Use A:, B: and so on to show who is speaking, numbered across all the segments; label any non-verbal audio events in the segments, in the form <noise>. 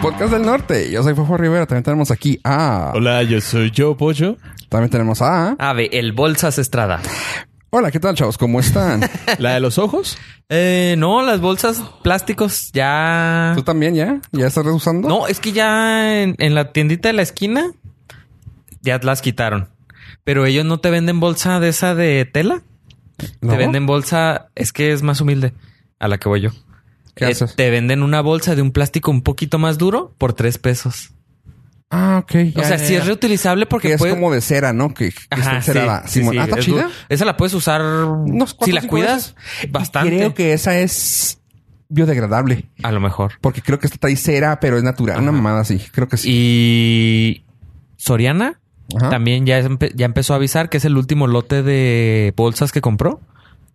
A: Podcast del Norte. Yo soy Fofo Rivera. También tenemos aquí a.
B: Hola, yo soy yo, Pollo.
A: También tenemos a.
C: Ave, Ah, el Bolsas Estrada.
A: Hola, ¿qué tal, chavos? ¿Cómo
C: <laughs>
A: están?
B: ¿La de los ojos?
C: Eh, no, las bolsas plásticos ya...
A: ¿Tú también ya? ¿Ya estás usando?
C: No, es que ya en, en la tiendita de la esquina ya las quitaron. Pero ellos no te venden bolsa de esa de tela.
A: ¿No?
C: Te venden bolsa... Es que es más humilde a la que voy yo. Eh,
A: ¿Qué haces?
C: Te venden una bolsa de un plástico un poquito más duro por tres pesos.
A: Ah, ok.
C: O sea, si es reutilizable porque
A: Que es
C: puede-
A: como de cera, ¿no? Que, que está
C: Ajá, sí,
A: encerada.
C: sí,
A: Simón.
C: sí,
A: ah, está
C: es
A: chida.
C: du- Esa la puedes usar si
A: cuatro,
C: la
A: cinco
C: cuidas
A: veces. Y
C: bastante.
A: Creo que esa es biodegradable.
C: A lo mejor.
A: Porque creo que esta trae cera, pero es natural. Una mamada así. Creo que sí.
C: Y Soriana
A: Ajá.
C: también ya, empe- ya empezó a avisar que es el último lote de bolsas que compró.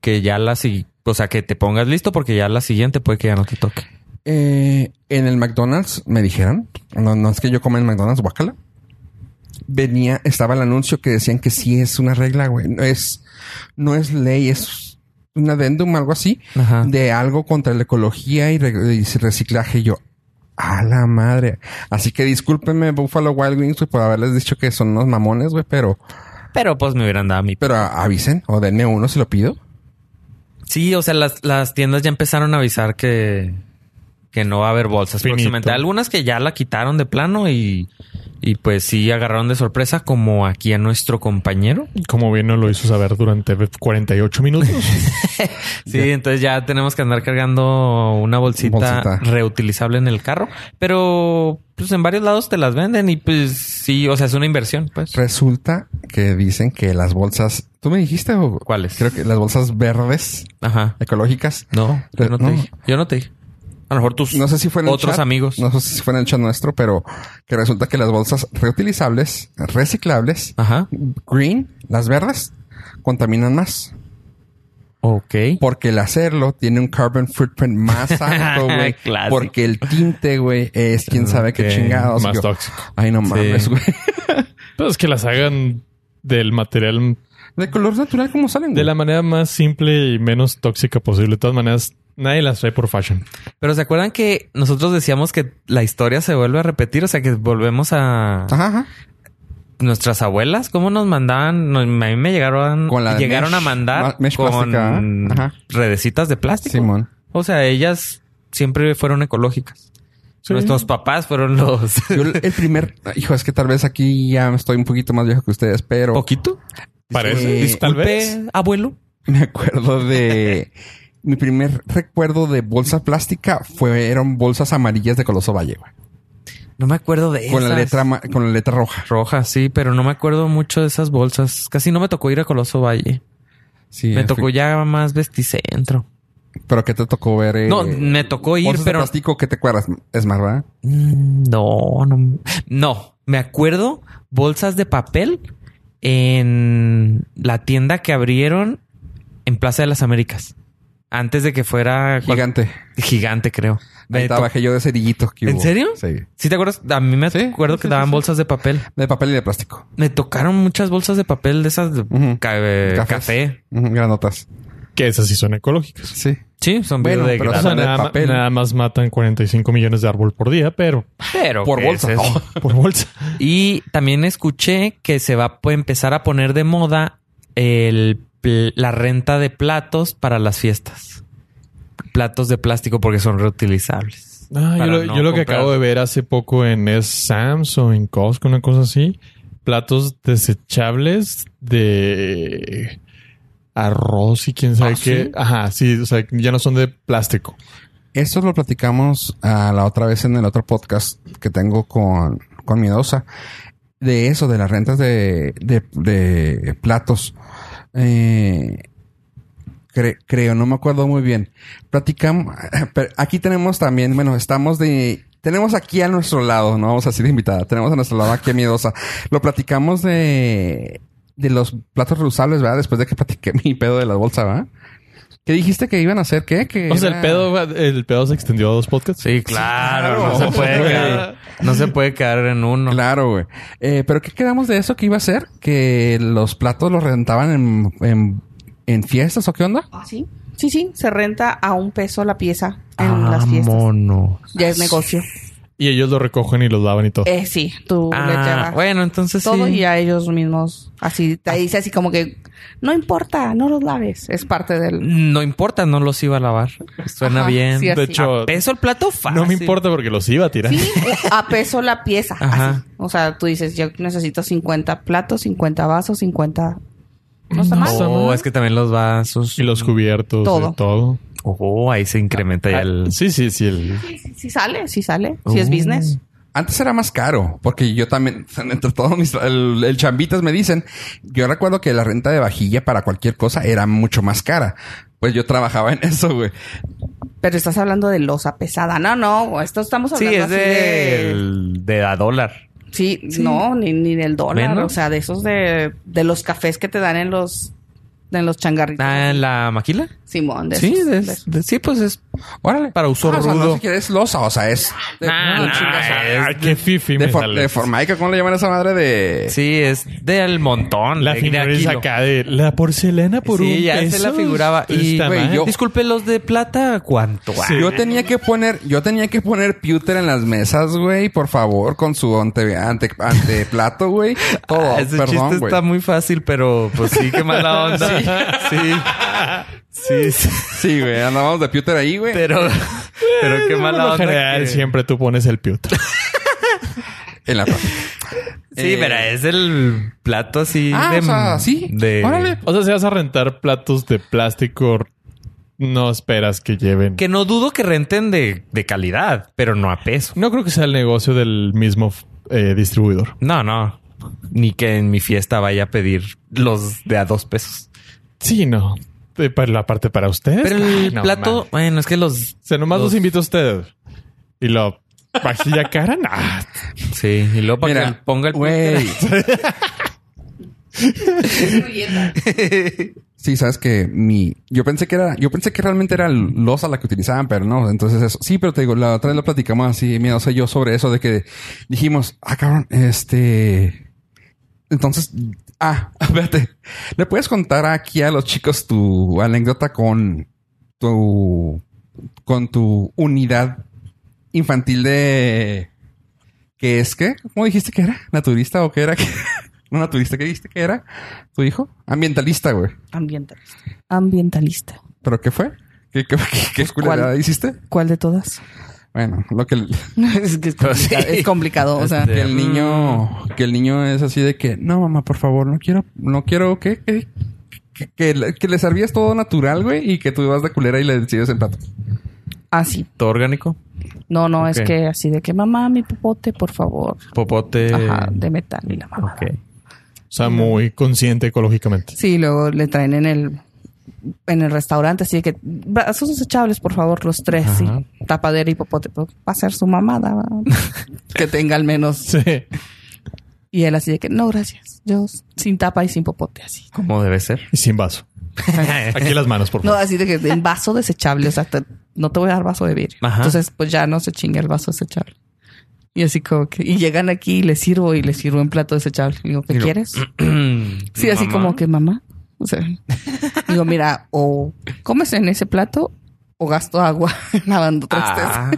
C: Que ya la si- O sea, que te pongas listo porque ya la siguiente puede que ya no te toque.
A: Eh, en el McDonald's me dijeron, no, no es que yo coma en McDonald's, guacala. Venía, estaba el anuncio que decían que sí es una regla, güey. No es, no es ley, es un adendum, algo así,
C: Ajá.
A: de algo contra la ecología y, re- y reciclaje. Y yo, a la madre. Así que discúlpenme, Buffalo Wild Wings, güey, por haberles dicho que son unos mamones, güey, pero,
C: Pero pues me hubieran dado mi...
A: pero a- avisen o denme uno si lo pido.
C: Sí, o sea, las, las tiendas ya empezaron a avisar que, que no va a haber bolsas
B: Finito.
C: próximamente. Algunas que ya la quitaron de plano y, y pues sí agarraron de sorpresa como aquí a nuestro compañero.
B: Como bien nos lo hizo saber durante
A: <laughs>
B: 48 minutos.
C: Sí, entonces ya tenemos que andar cargando una bolsita,
A: Bolsita.
C: reutilizable en el carro. Pero pues en varios lados te las venden y pues sí, o sea, es una inversión, pues.
A: Resulta que dicen que las bolsas, tú me dijiste, o
C: ¿Cuáles?
A: creo que las bolsas verdes
C: Ajá.
A: ecológicas
C: No, yo no,
A: No.
C: te dije. Yo no te dije. A lo mejor tus
A: No sé si fue en el
C: otros
A: chat,
C: amigos.
A: No sé si fue en el chat nuestro, pero que resulta que las bolsas reutilizables, reciclables,
C: Ajá.
A: green, las verdes, contaminan más.
C: Ok.
A: Porque el hacerlo tiene un carbon footprint
B: <laughs>
A: más alto, güey.
C: Clásico.
A: porque el tinte, güey, es quién sabe qué
B: Ok,
A: chingados.
B: Eh, Más
A: Yo,
B: tóxico.
A: Ay, no mames, güey. <laughs>
B: Pues que las hagan del material
A: De color natural, ¿cómo salen?
B: de
A: güey?
B: la manera más simple y menos tóxica posible. De todas maneras, nadie las trae por fashion.
C: Pero ¿se acuerdan que nosotros decíamos que la historia se vuelve a repetir? O sea, que volvemos a
A: Ajá, ajá.
C: nuestras abuelas. ¿Cómo nos mandaban? No, a mí me llegaron,
A: Con la de
C: llegaron
A: mesh,
C: a mandar
A: ma- mesh plástica,
C: con
A: ¿eh? Ajá.
C: redecitas de
B: Este
C: plástico.
A: Simón.
C: O sea, ellas siempre fueron ecológicas.
B: Sí.
C: Nuestros papás fueron los...
A: Yo el el primer... Hijo, es que tal vez aquí ya estoy un poquito más viejo que ustedes, pero...
C: ¿Poquito?
B: Parece. pues,
A: Eh,
B: Tal
C: Disculpe,
B: vez.
C: abuelo.
A: Me acuerdo de. mi primer recuerdo de bolsa plástica fueron bolsas amarillas de Coloso Valle, güey.
C: No me acuerdo de
A: Con la
C: esas.
A: letra ma- con la letra roja.
C: roja, sí, pero no me acuerdo mucho de esas bolsas. Casi no me tocó ir a Coloso Valle.
A: Sí,
C: me tocó ya más vesticentro.
A: Pero que te tocó ver. eh,
C: No, me tocó ir,
A: bolsas de
C: pero
A: plástico que te acuerdas. Es más, ¿verdad?
C: Mm, No, no. No, me acuerdo bolsas de papel en la tienda que abrieron en Plaza de las Américas. Antes de que fuera cual-
A: Gigante.
C: gigante, creo.
A: Ahí
C: Pues, Me
A: estaba
C: to-
A: bajé yo de cerillito. que
C: ¿En
A: hubo.
C: serio?
A: Sí.
C: ¿Sí te acuerdas? A mí me
A: Sí,
C: acuerdo
A: sí,
C: que
A: sí,
C: daban
A: sí.
C: bolsas de papel.
A: De papel y de plástico.
C: Me tocaron muchas bolsas de papel de esas de
A: Ujú.
C: ca- eh,
A: Cafés.
C: café.
A: Ujú, granotas.
B: Que esas sí son ecológicas.
A: Sí.
C: Sí, son
A: Bueno, pero
B: O
C: biodegradables.
B: sea,
A: son de
B: nada, ma-
A: papel.
B: nada más matan 45 millones de árbol por día, pero
C: Pero
A: Por
C: ¿qué
A: bolsa.
C: es eso?
A: Oh,
B: <laughs> por bolsa.
C: Y también escuché que se va a po- empezar a poner de moda el pl- la renta de platos para las fiestas. Platos de plástico porque son reutilizables.
B: Ah, yo
C: Para
B: lo,
C: no
B: yo lo que
C: comprar.
B: acabo de ver hace poco en es Sam's o en Costco, una cosa así, platos desechables de arroz y quién sabe
C: ¿Ah,
B: qué.
C: sí?
B: Ajá, sí, o sea, ya no son de plástico.
A: Esto lo platicamos ah, la otra vez en el otro podcast que tengo con, con Miedosa. De eso, de las rentas de, de, de platos. Eh, cre- creo, no me acuerdo muy bien. Platicamos. <laughs> pero Aquí tenemos también, bueno, estamos de. Tenemos aquí a nuestro lado, no vamos a decir invitada, tenemos a nuestro lado aquí a Miedosa. Lo platicamos de, de los platos reusables, ¿verdad? Después de que platiqué <laughs> mi pedo de la bolsa, ¿verdad? ¿Qué dijiste que iban a hacer? ¿Qué? Que
B: O sea,
A: era-
B: el pedo, el pedo se extendió a dos podcasts.
C: Sí, claro,
A: claro.
C: no se
B: <laughs>
C: puede
A: Güey.
C: quedar, no se puede quedar en uno.
A: Claro, güey. Eh, Pero ¿qué quedamos de eso que iba a ser? ¿Que los platos los rentaban en, en, en fiestas o qué onda?
D: Ah, sí.
C: Ah,
D: Sí, sí, se renta a un peso la pieza en las fiestas.
C: Vámonos.
D: Ya es negocio.
B: Y ellos lo recogen y los lavan y todo.
D: Eh, sí, tú le
C: Ah,
D: llevas
C: bueno, entonces
D: todo
C: sí. Ah.
D: y a ellos mismos. Así te dice así como que no importa, no los laves. Es parte
C: <laughs>
D: del.
C: No importa, no los iba a lavar. Suena
D: Ajá,
C: bien.
D: sí,
B: de
D: así.
B: hecho,
C: Peso el plato fácil.
B: no me importa porque los iba a tirar.
D: Sí, eh, a peso la pieza.
C: Ajá.
D: así. O sea, tú dices, yo necesito 50 platos, 50 vasos, 50. No está
B: No.
D: mal.
C: Oh, es que también los vasos.
B: Y los cubiertos,
D: Todo.
B: de todo.
C: Oh, ahí se incrementa ya el.
B: Ah, Sí, sí, sí. el-
D: Sí, sí, sí sale, sí sale. Si es
C: Uh.
D: business.
A: Antes era más caro, porque yo también, <laughs> entre todos mis, el, el chambitas me dicen, yo recuerdo que la renta de vajilla para cualquier cosa era mucho más cara. Pues yo trabajaba en <laughs> eso, güey.
D: Pero estás hablando de losa pesada. No, no, esto estamos
C: Sí,
D: hablando
C: es
D: así
C: del- de a dólar.
D: Sí, no, ni, ni del dólar.
C: Menos.
D: O sea, de esos de, de los cafés que te dan en los, en los changarritos.
C: Ah, ¿en la maquila?
D: Simón, de
C: Sí,
D: esos,
C: de-
D: de esos.
C: de- sí, pues es
A: Órale.
C: Para uso
A: Ah, o sea, no
C: rudo.
A: siquiera es losa, o sea, es de,
C: Ah,
A: un
C: ah,
A: chingazo.
C: es
B: Ay, qué fifi
A: de,
B: me
A: for-
B: sale.
A: de formaica, ¿cómo le llaman a esa madre de...?
C: Sí, es del montón.
B: La
C: de- de a
B: figura es
C: kilo.
B: acá de la porcelana por un
C: Sí, ya se
B: peso. este
C: la figuraba. Y
B: Está
A: güey,
B: mal.
A: yo- Ah,
C: disculpe, los de plata, ¿cuánto?
B: Sí.
A: Yo tenía que poner, yo tenía que poner pewter en las mesas, güey, por favor, con su ante, ante,
C: <laughs>
A: anteplato, güey. Todo,
C: Ah, ese
A: perdón,
C: chiste
A: güey.
C: está muy fácil, pero pues sí, qué mala onda. sí. sí. sí.
A: Sí, güey, andábamos de pewter ahí, güey.
C: Pero, pero qué
B: Por lo
C: mala onda.
B: general,
C: que-
B: siempre tú pones el piuto.
A: En la
C: Sí,
A: Eh,
C: pero es el plato así
A: Ah,
C: de.
A: o sea, sí.
C: de-
A: Órale.
B: <laughs> O sea, si vas a rentar platos de plástico, no esperas que lleven.
C: Que no dudo que renten de, de calidad, pero no a peso.
B: No creo que sea el negocio del mismo eh, distribuidor.
C: No, no. Ni que en mi fiesta vaya a pedir los de a dos pesos.
B: Sí, no. Eh, Para la parte para ustedes.
C: Pero
B: ay,
C: el
B: no,
C: plato,
B: man.
C: bueno, es que los.
B: O sea, nomás los,
C: los-
B: invito a ustedes. Y lo vajilla cara, nah.
C: Sí, y luego para
A: Mira,
C: que le ponga el
A: güey. Sí, sabes que mi, yo pensé que era, yo pensé que realmente era losa la que utilizaban, pero no. Entonces eso. Sí, pero te digo, la otra vez lo platicamos así, mira, o sea, yo sobre eso de que dijimos, ah, cabrón, este, entonces, ah, <laughs> espérate, ¿le puedes contar aquí a los chicos tu anécdota con tu, con tu unidad infantil de, que es que, ¿cómo dijiste que era? ¿Naturista o qué era? <laughs> no, naturista, ¿qué dijiste que era? ¿Tu hijo? Ambientalista, güey.
D: Ambientalista. Ambientalista.
A: ¿Pero qué fue? ¿Qué, qué, qué, qué culerada
D: ¿cuál?
A: hiciste?
D: ¿Cuál de todas?
A: Bueno, lo que el,
D: es que es complicado.
C: <laughs> Sí.
D: Ah, es complicado, o sea.
C: Este,
A: Ah, que el niño, que el niño es así de que, no mamá, por favor, no quiero, no quiero que, que, que- que le- que le servías todo natural, güey, y que tú vas de culera y le decides el plato.
D: Así.
C: mm, Todo orgánico.
D: ah, No, no, es
C: Ok.
D: que así de que mamá, mi popote, por favor.
C: Popote.
D: Ajá, de metal y la mamá.
C: Eh, Ok.
B: O sea, muy consciente ecológicamente.
D: Sí, luego le traen en el en el restaurante, así que brazos desechables, por favor, los tres, sí.
C: Ajá.
D: Tapadera y popote, pues, va a ser su
C: <laughs>
D: mamada. va. que tenga al menos.
B: Sí.
D: Y él así de que, no, gracias. Yo sin tapa y sin popote, así.
C: Como debe ser.
B: Y sin vaso. <laughs>
C: <laughs>
B: Aquí las manos, por
D: No,
B: favor.
D: así de que en vaso desechable, o sea, te- no te voy a dar vaso de vidrio.
C: Ajá.
D: Entonces, pues ya no se chinga el vaso desechable. Y así como que, y llegan aquí y les sirvo y les sirvo en plato desechable. Y digo, ¿qué
A: Digo,
C: <clears throat>
D: quieres? Sí, así como que mamá. O sea, <laughs> digo, mira, o comes en ese plato o gasto agua <laughs> lavando trastes.
C: Ah,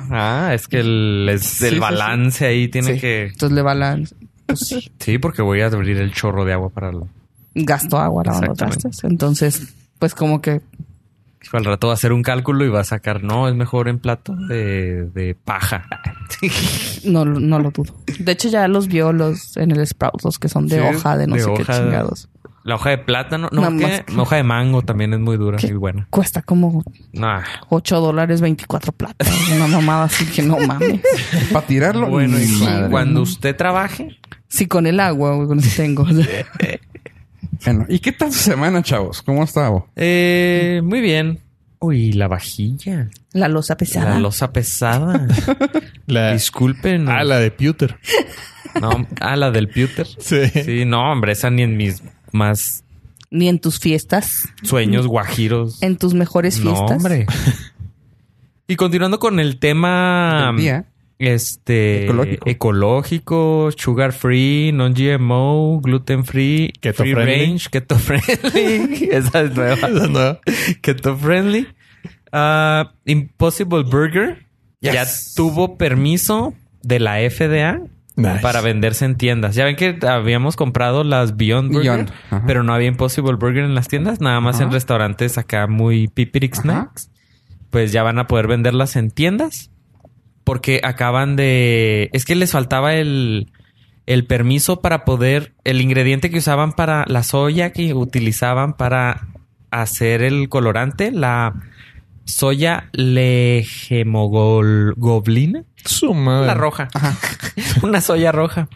C: ah, es que el, es
A: Sí, sí,
C: el
A: sí.
C: balance ahí tiene
D: Sí.
C: que.
D: Entonces le va la... pues sí,
C: Sí, porque voy a abrir el chorro de agua para el.
D: gasto agua lavando
C: Exactamente.
D: trastes. Entonces, pues como que...
C: Hijo, Al rato va a hacer un cálculo y va a sacar, no, es mejor en plato de, de paja.
D: No, lo- no lo dudo. De hecho, ya los vio los en el Sprout, los que son de
A: Sí,
D: hoja, de no
C: de
D: sé qué
C: hoja.
D: chingados.
C: La hoja de plátano, no,
D: No,
C: ¿qué?
D: más que-
C: la hoja de mango también es muy dura
D: ¿Qué?
C: y buena.
D: Cuesta como
C: Nah.
D: 8 dólares 24 platos. Una mamada así que no mames.
A: Para tirarlo.
C: <laughs> Bueno,
A: mi
C: y
A: madre.
C: cuando usted trabaje,
D: Sí, con el agua, güey, con eso
C: <laughs>
D: tengo.
A: Bueno, ¿y qué tal su semana, chavos? ¿Cómo estaba?
C: eh, muy bien. Uy, la vajilla,
D: La losa pesada.
C: la losa pesada.
B: La,
D: <laughs>
C: Disculpen.
B: ah, la de Pewter.
C: No, ah, la del pewter.
B: Sí.
C: Sí, no, hombre, esa ni en mis más
D: Ni en tus fiestas,
C: sueños guajiros.
D: en tus mejores
C: No,
D: fiestas. <laughs>
C: hombre. Y continuando con el tema
A: El día.
C: este
A: Ecológico.
C: ecológico, sugar free, non GMO, gluten free,
B: Keto
C: free
B: friendly.
C: range, keto
A: <laughs>
C: friendly, esa es nueva,
B: Esa no.
C: keto friendly, Ah, Impossible Burger ya
A: Yes.
C: tuvo permiso de la FDA
B: Nice.
C: para venderse en tiendas. Ya ven que habíamos comprado las Beyond Burger,
A: Beyond, ajá. Ah.
C: pero no había Impossible Burger en las tiendas, nada más en
A: Ajá.
C: restaurantes acá muy pipirix
A: Ajá.
C: snacks. Pues ya van a poder venderlas en tiendas porque acaban de es que les faltaba el el permiso para poder el ingrediente que usaban para la soya que utilizaban para hacer el colorante, la soya legemogoblina
B: Su madre.
C: la roja. <laughs> Una soya roja.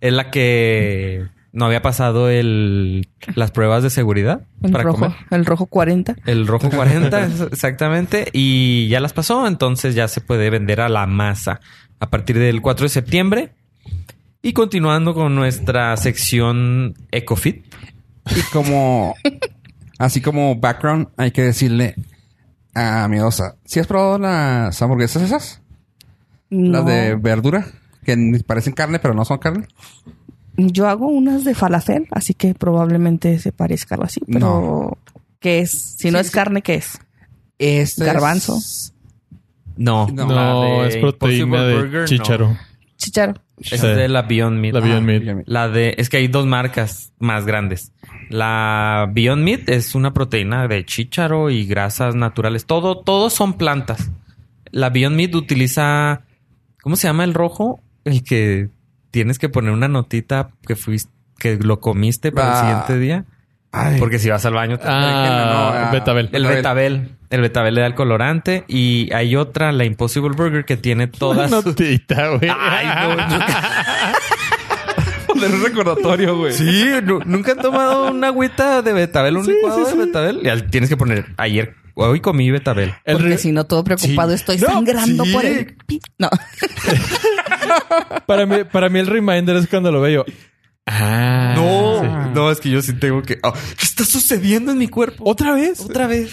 C: Es la que no había pasado el, las pruebas de seguridad
D: El
C: para
D: rojo,
C: comer.
D: el rojo 40.
C: El rojo 40, es- exactamente. Y ya las pasó, entonces ya se puede vender a la masa a partir del 4 de septiembre. Y continuando con nuestra sección EcoFit.
A: Y como, así como background, hay que decirle a Miedosa, ¿si has probado las hamburguesas esas?
D: No.
A: Las de verdura, que ni parecen carne, pero no son carne.
D: Yo hago unas de falafel, así que probablemente se parezca algo así, pero
A: No.
D: ¿qué es? Si no es carne, ¿qué es?
A: Este
D: Garbanzo.
A: es-
C: No,
A: No,
B: No,
C: la de
B: es proteína
C: Impossible
B: de
C: Burger, no.
B: chícharo.
D: Chicharo.
C: Esa es de la Beyond Meat.
B: La Beyond
A: Ah,
B: Meat.
C: La de. Es que hay dos marcas más grandes. La Beyond Meat es una proteína de chícharo y grasas naturales. Todo, todos son plantas. La Beyond Meat utiliza. ¿Cómo se llama el rojo? El que tienes que poner una notita que fuiste, que lo comiste para
A: Ah.
C: el siguiente día.
A: Ay,
C: Porque si vas al baño, te-
A: no,
B: Ah,
A: ah,
B: Betabel.
C: el betabel. El betabel le da el colorante. Y hay otra, la Impossible Burger, que tiene todas.
B: Una <laughs> notita, güey.
C: Ay, no, yo-
A: <laughs> poner un recordatorio, güey.
C: Sí, nu- nunca han tomado una agüita de betabel, un licuado de betabel. Ya tienes que poner ayer, hoy comí betabel.
B: El
D: porque
B: re-
D: si no, todo preocupado
B: Sí.
D: estoy
B: No,
D: sangrando
B: sí.
D: por el... pi- No. <laughs>
B: para, mí, para mí el reminder es cuando lo veo. yo, Ah. sí.
C: no, es que yo sí tengo que. oh, ¿Qué está sucediendo en mi cuerpo?
B: ¿Otra vez?
C: Otra vez.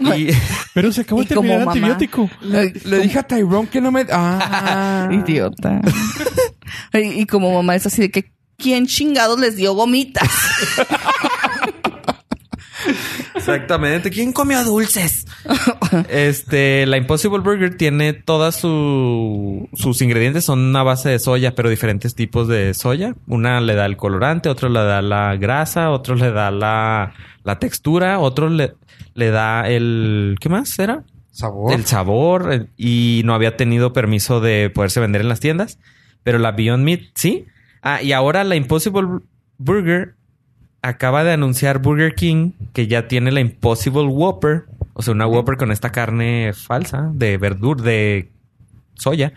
C: Y
B: Pero se acabó
D: Y
B: de terminar el
D: como mamá.
B: antibiótico.
A: Le, le dije a Tyrone que no me. Ah,
D: <laughs> Idiota. y, y como mamá es así de que, ¿quién chingados les dio gomitas?
C: exactamente. ¿Quién comió dulces? Este, la Impossible Burger tiene todas su- sus ingredientes, son una base de soya, pero diferentes tipos de soya. Una le da el colorante, otro le da la grasa, otro le da la, la textura, otro le, le da el. ¿Qué más era?
A: Sabor.
C: El sabor el- y no había tenido permiso de poderse vender en las tiendas, pero la Beyond Meat sí. Ah, y ahora la Impossible Burger acaba de anunciar Burger King que ya tiene la Impossible Whopper, o sea, una Whopper con esta carne falsa de verdur de soya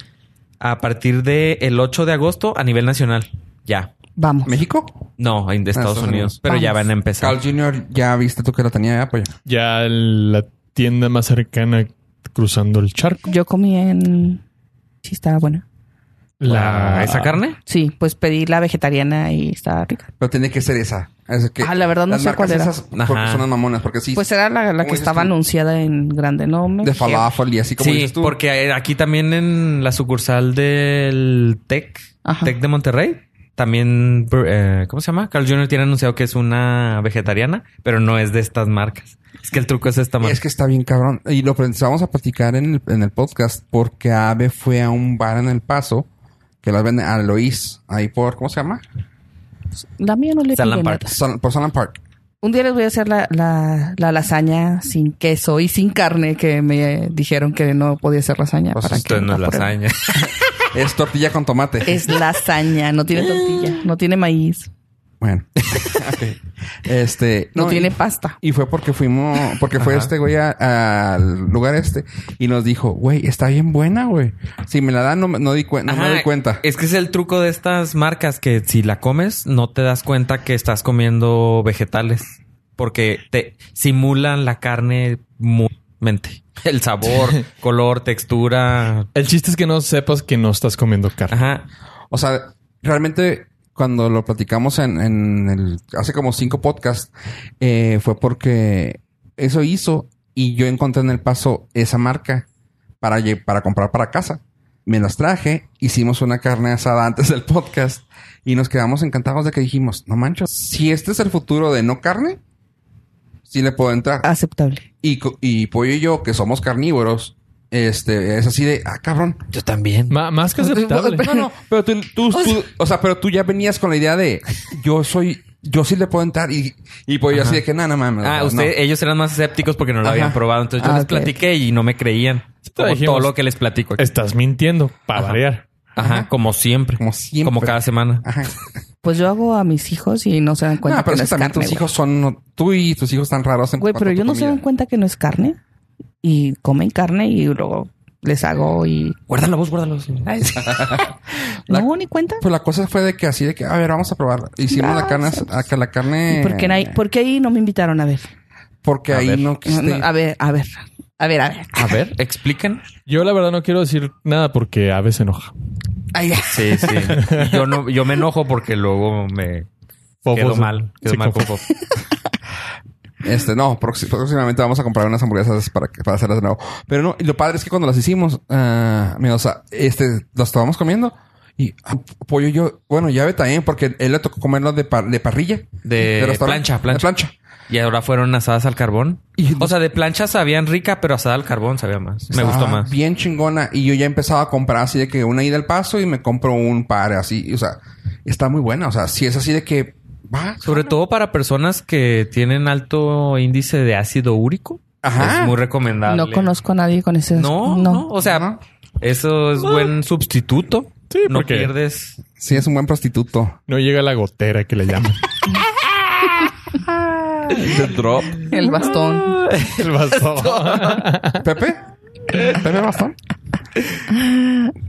C: a partir de el 8 de agosto a nivel nacional. Ya.
D: Vamos.
A: ¿México?
C: No, en de Estados,
A: Estados
C: Unidos,
A: Unidos.
C: pero ya
D: Vamos.
C: van a empezar.
A: Carl Jr., ya pues, viste tú que lo tenía de apoyo.
B: Ya la tienda más cercana cruzando el charco.
D: Yo comí en... Sí, estaba buena.
B: La...
C: Ah, ¿Esa carne?
D: Sí, pues pedí la vegetariana y estaba rica.
A: Pero tiene que ser esa. Es que
D: Ah, la verdad no
A: las
D: sé
A: marcas
D: cuál era.
A: Esas, porque
C: Ajá.
A: son las mamonas, porque sí.
D: Pues era la, la
A: ¿Cómo
D: que
A: dices
D: estaba
A: tú?
D: anunciada en grande, ¿no? me
A: de
D: fijé.
A: falafel y así como
C: Sí,
A: dices tú.
C: porque aquí también en la sucursal del TEC,
D: Ajá.
C: TEC de Monterrey, también, eh, ¿cómo se llama? Carl Jr. tiene anunciado que es una vegetariana, pero no es de estas marcas. Es que el truco es esta marca.
A: Es que está bien cabrón. Y lo pensamos a platicar en el, en el podcast porque Ave fue a un bar en El Paso que las vende a Lois. Ahí por, ¿cómo se llama?
D: La mía no le pide
C: Salad
D: nada.
C: Park.
A: Sun- por Sunland Park.
D: Un día les voy a hacer la, la- la lasaña sin queso y sin carne que me dijeron que no podía hacer lasaña.
A: Pues
D: para
C: Esto
D: que
C: no es
D: la
C: <laughs>
D: prueben.
C: lasaña.
A: Es tortilla con tomate.
D: Es lasaña, no tiene tortilla, no tiene maíz,
A: Bueno. <laughs> Ok. Este.
D: no,
A: y-
D: tiene pasta.
A: Y fue porque fuimos, porque fue
C: Ajá.
A: este güey a- al lugar este y nos dijo, güey, está bien buena, güey. Si me la dan, no, me- no, di cuen- no me
C: Ajá,
A: doy cuenta.
C: Es que es el truco de estas marcas que si la comes no te das cuenta que estás comiendo vegetales porque te simulan la carne muy mente.
A: <laughs>
C: El sabor, color, textura.
B: El chiste es que no sepas que no estás comiendo carne.
C: Ajá.
A: O sea, realmente cuando lo platicamos en, en el, hace como cinco podcasts, eh, fue porque eso hizo y yo encontré en el paso esa marca para, lle- para comprar para casa. Me las traje, hicimos una carne asada antes del podcast y nos quedamos encantados de que dijimos, no manches, si este es el futuro de no carne, sí le puedo entrar.
D: Aceptable.
A: Y, co- y Pollo y yo, que somos carnívoros, este, es así de, ah, cabrón.
C: Yo también.
B: Ma- más
C: <laughs>
B: que aceptable.
A: No, no, pero tú, tú- tú- o, sea, pero tú ya venías con la idea de, yo soy, yo sí le puedo entrar y, y pues yo así de que, nada, nada, mames.
C: Ah,
A: no".
C: usted, ellos eran más escépticos porque no lo
A: Ajá.
C: habían probado. Entonces yo
D: Ah,
C: les
D: ok.
C: platiqué y no me creían.
B: te
C: Como
B: dijimos.
C: todo lo que les platico. aquí.
B: Estás mintiendo para
C: Ajá.
B: variar.
C: Ajá, como siempre.
A: Como siempre.
C: Como cada semana.
A: Ajá.
D: Pues yo hago a mis hijos y no se dan cuenta
A: No, pero
D: que
A: eso
D: no es
A: también
D: carne.
A: tus
D: güey.
A: hijos son, tú y tus hijos están raros en
D: Güey,
A: cuanto a
D: pero
A: tu
D: ellos no se
A: comida.
D: dan cuenta que no es carne y comen carne y luego les hago y
C: Guárdala vos, guárdala vos.
A: La-
D: no ni cuenta.
A: Pues la cosa fue de que así de que, a ver, vamos a probar. Hicimos la carne,
D: Gracias.
A: a que la carne.
D: ¿Y por qué, ahí- por qué ahí no me invitaron a ver?
A: Porque este
C: A
A: ahí
C: ver.
A: no
D: No,
A: quisiste
D: no,
A: ir.
D: a ver, a ver, a ver, a ver.
C: <laughs> A ver, explican.
B: Yo la verdad no quiero decir nada porque Ave se enoja.
D: Ay,
C: Sí, sí. Yo no, yo me enojo porque luego me
B: Fofo
C: quedo
B: se-
C: mal. Quedo
B: se
C: mal
B: conf-
C: con Fofo.
A: Este, no, proxi- próximamente vamos a comprar unas hamburguesas para, que- para hacerlas de nuevo. Pero no, y lo padre es que cuando las hicimos, ah, mira, o sea, este, las estábamos comiendo y ah, pollo yo, bueno, llave también, porque él le tocó comerlo de, par- de parrilla.
C: De
A: restaurante.
C: plancha, plancha.
A: De plancha.
C: Y ahora fueron asadas al carbón.
A: Y-
C: O sea, de plancha sabían rica, pero asada al carbón sabía más. Me gustó
A: Estaba
C: más.
A: Bien chingona. Y yo ya empezaba a comprar así de que una ida al paso y me compro un par así. y, O sea, está muy buena. O sea, si es así de que va.
C: Sobre todo para personas que tienen alto índice de ácido úrico.
A: Ajá.
C: Es muy recomendable.
D: no conozco a nadie con ese.
C: No, no. O sea,
A: No.
C: eso es buen sustituto.
B: Sí,
C: no
B: porque-
C: pierdes.
A: Sí, es un buen
C: <laughs>
A: prostituto.
B: No llega la gotera que le llaman.
A: The drop.
D: El
C: <laughs>
D: bastón.
C: Ah,
B: <laughs> El bastón.
A: Pepe. Pepe Bastón.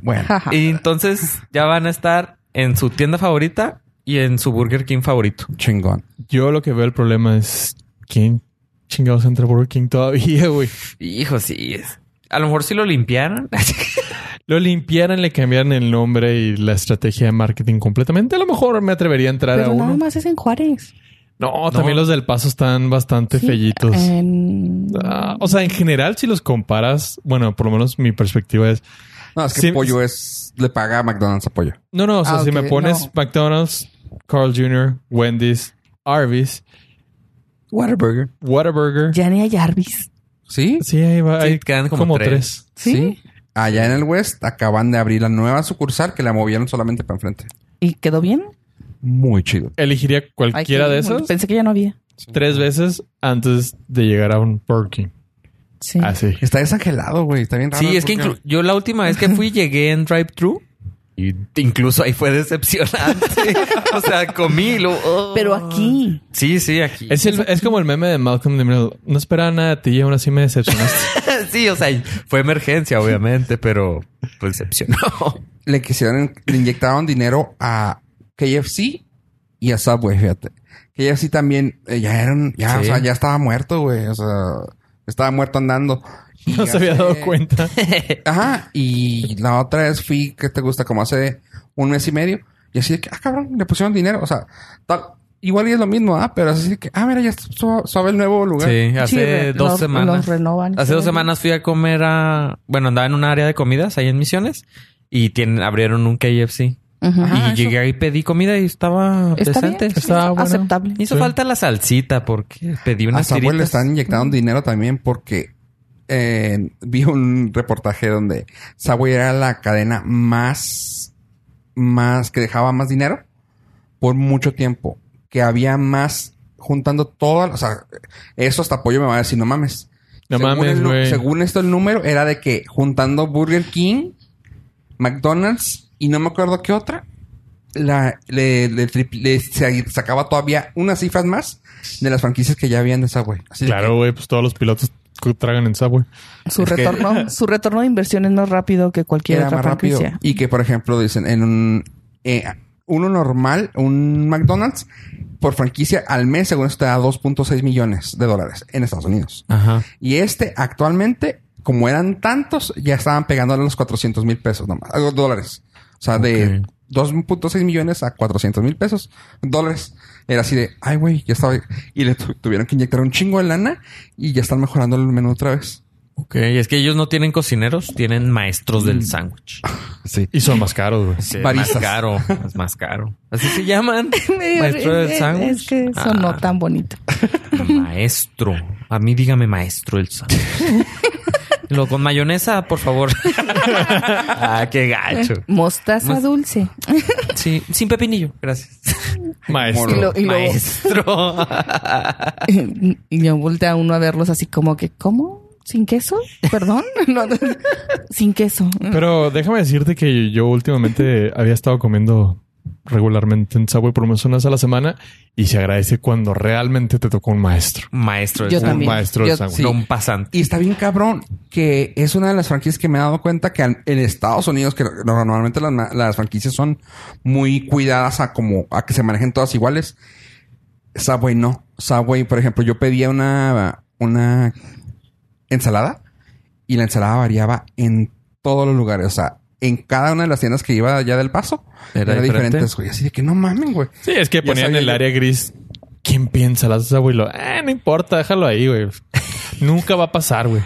A: Bueno.
D: Jaja.
C: Y entonces ya van a estar en su tienda favorita y en su Burger King favorito.
A: Chingón.
B: <laughs> Yo lo que veo el problema es quién chingados entra Burger King todavía, <laughs> güey.
C: Hijo, sí. es- A lo mejor si lo <laughs> limpiaran.
B: Lo limpiaran, le cambiaran el nombre y la estrategia de marketing completamente. A lo mejor me atrevería a entrar a
D: Pero nada
B: uno.
D: más es en Juárez.
B: No, también los del paso están bastante
D: Sí, eh,
B: fellitos.
D: en-
B: Ah, o sea, en general, si los comparas, bueno, por lo menos mi perspectiva es.
A: No, es que
B: Sí.
A: Pollo es... Le paga a McDonald's a Pollo.
B: No, no, o sea,
D: Ah,
B: si me
D: ok,
B: pones
D: no.
B: McDonald's, Carl Jr., Wendy's, Arby's,
A: Whataburger.
B: Whataburger.
D: Ya ni hay Jarvis.
A: ¿Sí?
B: Sí, ahí va.
C: Sí,
B: hay
C: quedan
B: como,
C: como
B: tres.
C: tres.
D: ¿Sí?
A: Allá en el West acaban de abrir la nueva sucursal que la movieron solamente para enfrente.
D: ¿Y quedó bien?
A: Muy chido.
B: Elegiría
D: Ay,
B: cualquiera
D: qué-
B: de esas
D: Pensé que ya no había.
B: tres veces antes de llegar a un Burger King.
D: Sí.
B: Así.
A: Está desangelado, güey. Está bien raro.
C: Sí, es que
A: porque-
C: inclu- yo la última vez que fui llegué en drive thru y incluso ahí fue decepcionante. <laughs> o sea, comí lo. oh.
D: Pero aquí.
C: Sí, sí, aquí.
B: Es, el- es como el meme de Malcolm in the Middle. No esperaba nada de ti y aún así me decepcionaste.
C: <laughs> sí, o sea, fue emergencia, obviamente, pero pues, decepcionó.
A: le quisieron, le inyectaron dinero a KFC y a Subway, fíjate. KFC también eh, ya eran, ya, o
C: Sí.
A: sea, ya estaba muerto, güey. O sea, estaba muerto andando. Y
B: <laughs> No
A: ya
B: se había dado
A: sé-
B: cuenta.
A: Ajá. Y la otra vez fui, que te gusta? Como hace un mes y medio. Y así de que, ah, cabrón, le pusieron dinero. O sea, tal- igual y es lo mismo, ah, pero así de que, ah, mira, ya está su- suave el nuevo lugar.
C: Sí,
D: Sí,
C: hace
D: re-
C: dos
D: los-
C: semanas.
D: los renovan.
C: Hace dos semanas fui a comer a. Bueno, andaba en un área de comidas ahí en Misiones y tienen, abrieron un KFC.
D: Ujú.
A: Ajá,
C: y
A: eso-
C: llegué ahí, pedí comida y estaba
D: Está bien.
C: decente.
B: Está bueno.
D: Aceptable.
C: Hizo
B: Sí.
C: falta la salsita porque pedí
A: A
C: unas
A: Subway le
C: tiritas.
A: están inyectando dinero también porque eh, vi un reportaje donde Subway era la cadena más, más, que dejaba más dinero por mucho tiempo. Que había más juntando todas, o sea, eso hasta apoyo me va a decir, no mames.
B: No
A: Según
B: mames,
A: el nu-
B: güey.
A: Según esto, el número era de que juntando Burger King, McDonald's y no me acuerdo qué otra, la, le, le tripl- le se- sacaba todavía unas cifras más de las franquicias que ya habían de Subway. Así de
B: Claro, güey. Pues todos los pilotos que tragan en Subway.
D: Su
A: Es que-
C: <laughs>
D: retorno, su retorno de inversión es más rápido que
A: que
D: cualquier
A: era
D: otra
A: más rápido.
D: franquicia.
A: Y que, por ejemplo, dicen en un. eh, uno normal, un McDonald's, por franquicia al mes, según esto, te da 2.6 millones de dólares en Estados Unidos.
C: Ajá.
A: Y este actualmente, como eran tantos, ya estaban pegándole los 400 mil pesos nomás, ah, dólares. O sea, de
C: Ok.
A: 2.6 millones a 400 mil pesos, dólares. Era así de, ay, güey, ya estaba. Y le tu- tuvieron que inyectar un chingo de lana y ya están mejorando el menú otra vez.
C: Ok, es que ellos no tienen cocineros, tienen maestros
A: <laughs>
C: del sándwich.
A: Sí.
B: Y son más caros, güey.
C: Sí,
A: Mm. Baristas.
C: Más caro, es más caro. Así se llaman.
D: <laughs> Me-
C: Maestro del
D: es-
C: sándwich.
D: Es que sonó
C: Ah.
D: tan bonito.
C: Maestro. A mí dígame maestro el sándwich. Lo con mayonesa, por favor. ah, qué gacho.
D: Mostaza
C: Mos-
D: dulce.
C: Sí, sin pepinillo. Gracias.
B: Maestro.
D: Y lo- y luego-
C: Maestro.
D: y yo voltea uno a verlos así como que, ¿cómo? ¿Sin queso? ¿Perdón? <laughs> No, no, sin queso.
B: Pero déjame decirte que yo últimamente había estado comiendo regularmente en Subway por lo menos unas a la semana y se agradece cuando realmente te tocó un maestro.
C: Maestro. del
D: Yo
B: un
C: sabor.
D: también.
B: maestro del
D: Yo-
B: sándwich.
A: sí.
C: No un pasante.
A: Y está bien cabrón que es una de las franquicias que me he dado cuenta que al- en Estados Unidos, que normalmente las, ma- las franquicias son muy cuidadas a como a que se manejen todas iguales. Subway no. Subway, por ejemplo, yo pedía una, una ensalada y la ensalada variaba en todos los lugares. O sea, en cada una de las tiendas que iba allá del paso,
C: Era
A: era,
C: diferente.
A: diferente. güey. Así de que no mamen, güey.
B: Sí, es que
A: Ya
B: ponían
A: sabía
B: el
A: yo.
B: área gris. ¿Quién piensa las abuelo? Eh, no importa, déjalo ahí, <laughs> güey. Nunca va a pasar, güey.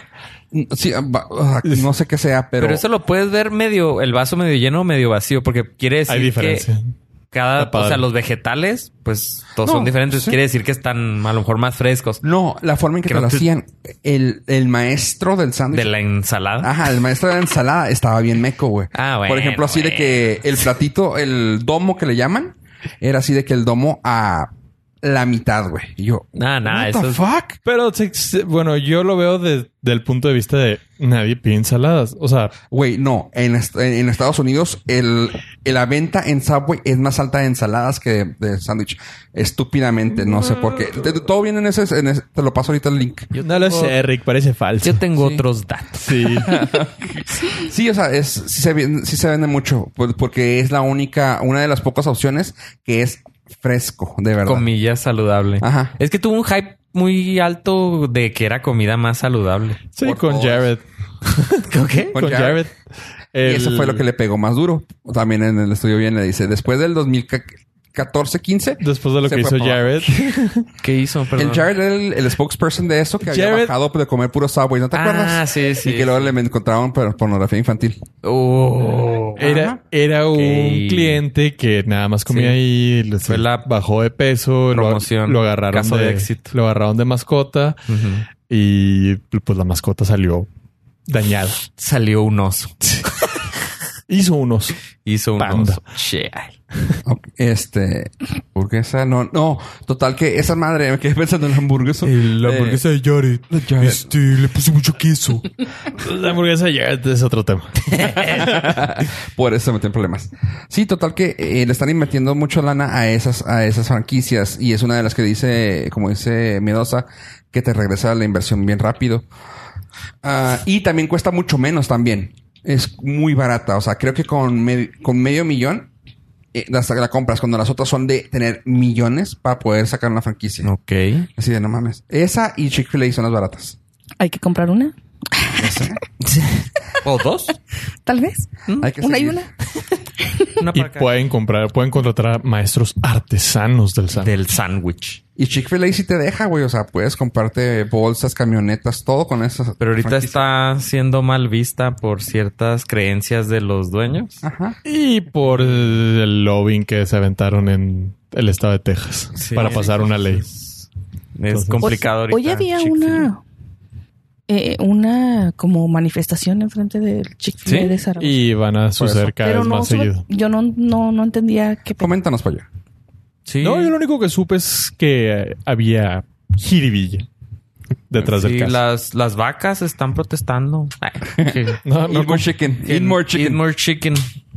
A: Sí, va- o sea, no sé qué sea, pero,
C: Pero, eso lo puedes ver medio, el vaso medio lleno o medio vacío, porque quiere decir
B: Hay diferencia.
C: que cada,
B: Está padre.
C: o sea, los vegetales, pues todos
A: No,
C: son diferentes.
A: sí.
C: Quiere decir que están a lo mejor más frescos
A: No, la forma en que te
C: Creo
A: lo
C: que-
A: hacían. El, el maestro del sándwich.
C: de la ensalada.
A: Ajá, el maestro de la ensalada estaba bien meco, güey.
C: Ah, bueno,
A: Por ejemplo, así de
C: bueno.
A: que el platito, el domo que le llaman, era así de que el domo a la mitad, güey. Y yo,
C: Nah, nah,
A: what
C: eso
A: the
C: es-
A: fuck?
B: Pero se- se- bueno, yo lo veo desde el punto de vista de nadie pide ensaladas. O sea,
A: Güey, no. En, est- en Estados Unidos, el, el- la venta en Subway es más alta de ensaladas que de, de sándwich. Estúpidamente, no sé por qué. Te- te- todo viene en ese, en ese- Te lo paso ahorita el link.
B: yo no lo sé, Rick, parece falso.
C: Yo tengo otros
A: <laughs>
C: datos.
B: Sí.
A: Sí, o sea, es, sí, se vende, sí se vende mucho, por- porque es la única, una de las pocas opciones que es fresco, de verdad.
C: Comillas saludable.
A: Ajá.
C: Es que tuvo un hype muy alto de que era comida más saludable.
B: Sí,
A: Por
B: con
A: todos.
B: Jared.
C: ¿Con qué?
A: <laughs>
B: Con
A: Con
B: Jared.
A: Jared. Y eso fue lo que le pegó más duro. También en el estudio bien le dice, después del 2014-15,
B: Después de lo
A: se
B: que
A: fue
B: hizo
A: para abajo.
B: Jared.
C: ¿Qué hizo? Perdón.
A: el Jared era el, el spokesperson de eso que
B: Jared-
A: había bajado de comer puro Subway, ¿no te
C: Ah,
A: acuerdas?
C: sí, sí.
A: Y que luego le encontraban por- pornografía infantil.
C: Oh.
B: Era, era un
C: Ok.
B: cliente que nada más comía
C: Sí.
B: ahí, les
C: Fue la
B: bajó de peso, lo-
C: promoción,
B: Lo, agarraron
C: caso de
B: de,
C: éxito.
B: lo agarraron de mascota
C: Ujú.
B: y pues la mascota salió dañada.
C: Salió un oso.
B: Hizo unos.
C: Hizo un
B: Panda.
C: oso. Che.
A: Ok, Este, hamburguesa, no, no, total que esa madre, me quedé pensando en la hamburguesa.
B: La
A: Eh,
B: hamburguesa de Jared.
A: Jared.
B: Este, le puse mucho queso. <laughs> la hamburguesa de Jared es
C: <laughs>
B: otro tema.
A: Por eso se metió en problemas. Sí, total que eh, le están invirtiendo mucho lana a esas, a esas franquicias y es una de las que dice, como dice Miedosa, que te regresa la inversión bien rápido. Ah, y también cuesta mucho menos también. Es muy barata. O sea, creo que con, me- con medio millón eh, la, sa- la compras cuando las otras son de tener millones para poder sacar una franquicia.
C: Ok.
A: Así de no mames. Esa y Chick-fil-A son las baratas.
D: Hay que comprar una, <laughs>
C: ¿O dos?
D: tal vez.
A: Hay que
D: una y
A: seguir.
D: una.
C: Una
B: Y
C: para cada-
B: pueden comprar, pueden contratar a maestros artesanos del sándwich.
C: Del sándwich.
A: Y Chick-fil-A sí te deja, güey. O sea, puedes comprarte bolsas, camionetas, todo con esas.
C: Pero ahorita
A: franquicias.
C: está siendo mal vista por ciertas creencias de los dueños.
A: Ajá.
B: Y por el lobbying que se aventaron en el estado de Texas
C: Sí.
B: para pasar una ley.
C: Es
B: Entonces-
C: complicado
D: Hoy-
C: ahorita.
D: Hoy había
C: Chick-fil-A.
D: una... eh, una como manifestación enfrente del chick
C: Sí,
D: de Zaragoza.
B: Y van a suceder cada
D: Pero
B: vez
D: no,
B: más
D: solo-
B: seguido.
D: yo no, no, no entendía qué... pe-
A: Coméntanos para allá.
C: Sí.
B: No, yo lo único que supe es que eh, había jiribilla detrás del
C: Sí,
B: caso.
C: las, las vacas están protestando. Ay, que-
B: No, no
A: Eat more
B: comp-
A: chicken.
C: que-
A: Eat more chicken.
C: chicken.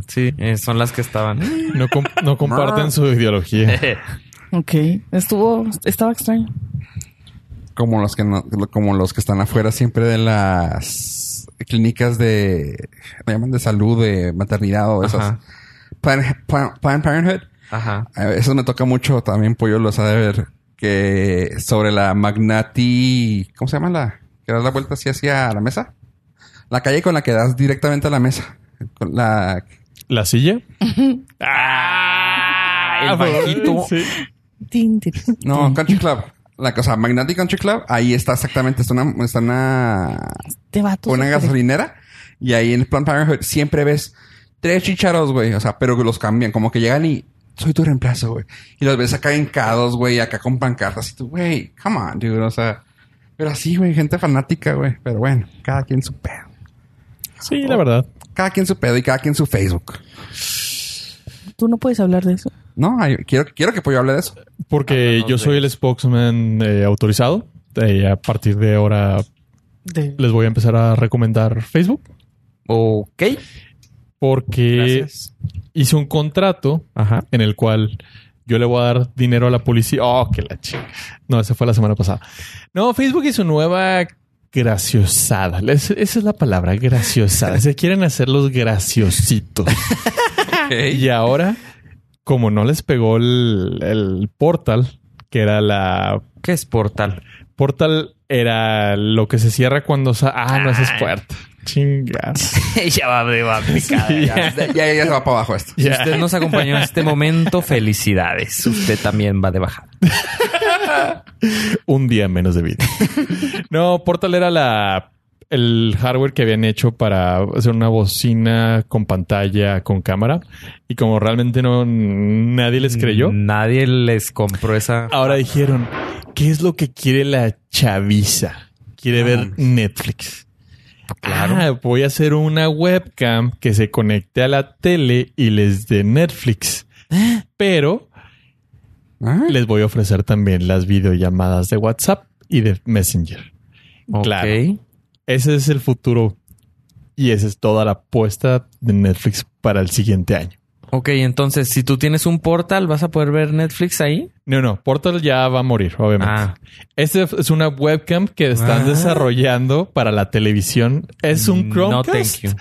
C: Sí, eh, son las que estaban.
B: no comp- no
C: <laughs>
B: comparten su ideología.
D: Ok, estuvo... Estaba extraño.
A: Como los que no- como los que están afuera siempre de las clínicas de me llaman de salud, de maternidad o esas.
C: Ajá.
A: Plan- Plan- Planned Parenthood.
C: Ajá.
A: A ver, Eso me toca mucho también, Pollo lo sabe ver. Que sobre la Magnati. ¿Cómo se llama la? Que das la vuelta así hacia la mesa. La calle con la que das directamente a la mesa. Con la.
B: ¿La silla?
C: Ah, el bajito.
B: Sí.
D: Tin, tin.
A: No, Country Club. La cosa, Magnati Country Club. Ahí está exactamente. Está una. Está una
D: Este vato
A: una
D: se-
A: gasolinera y ahí en Planned Parenthood siempre ves tres chicharos, güey. O sea, pero que los cambian, como que llegan y soy tu reemplazo, güey. Y los ves acá encados, güey, acá con pancartas y tú, güey, come on, dude. O sea, Pero así, güey, gente fanática, güey. Pero bueno, cada quien su pedo.
B: Sí,
C: Oh.
B: la verdad.
A: Cada quien su pedo y cada quien su Facebook.
D: Tú no puedes hablar de eso.
A: No, ay, quiero, quiero que Pollo hable de eso.
C: Ah,
B: Porque yo soy el spokesman eh, autorizado. Eh, a partir de ahora
D: De-
B: les voy a empezar a recomendar Facebook.
C: Ok.
B: Porque
C: Gracias.
B: hice un contrato
C: Ajá.
B: en el cual yo le voy a dar dinero a la policía. Oh, que la chica. No, esa fue la semana pasada. No, Facebook y su nueva graciosada. Es- esa es la palabra, graciosada. Se quieren hacer los graciositos. Y ahora, como no les pegó el, el portal, que era la
C: ¿Qué es portal?
B: portal, era lo que se cierra cuando sa- Ah, no, esa es puerta. Chingas.
C: ya va de va picada.
A: Ya, ya, ya se va para abajo esto.
C: Si usted nos acompañó en este momento, felicidades. Usted también va de bajada.
B: un día menos de vida. no, Portal era la el hardware que habían hecho para hacer una bocina con pantalla, con cámara. Y como realmente no nadie les creyó,
C: Mm.
B: Ah,
C: Nadie les compró esa.
B: ahora dijeron, ¿qué es lo que quiere la chaviza? Quiere ver Netflix. Claro. voy a hacer una webcam que se conecte a la tele y les dé Netflix. Pero
A: Ah,
B: les voy a ofrecer también las videollamadas de WhatsApp y de Messenger. claro.
C: Ok.
B: Ese es el futuro y esa es toda la apuesta de Netflix para el siguiente año.
C: Ok, entonces, si tú tienes un portal, ¿vas a poder ver Netflix ahí?
B: No, no, Portal ya va a morir, obviamente.
C: Ah.
B: Este es una webcam que
C: Ah.
B: están desarrollando para la televisión. Es un
C: No, thank
B: Chromecast
C: you.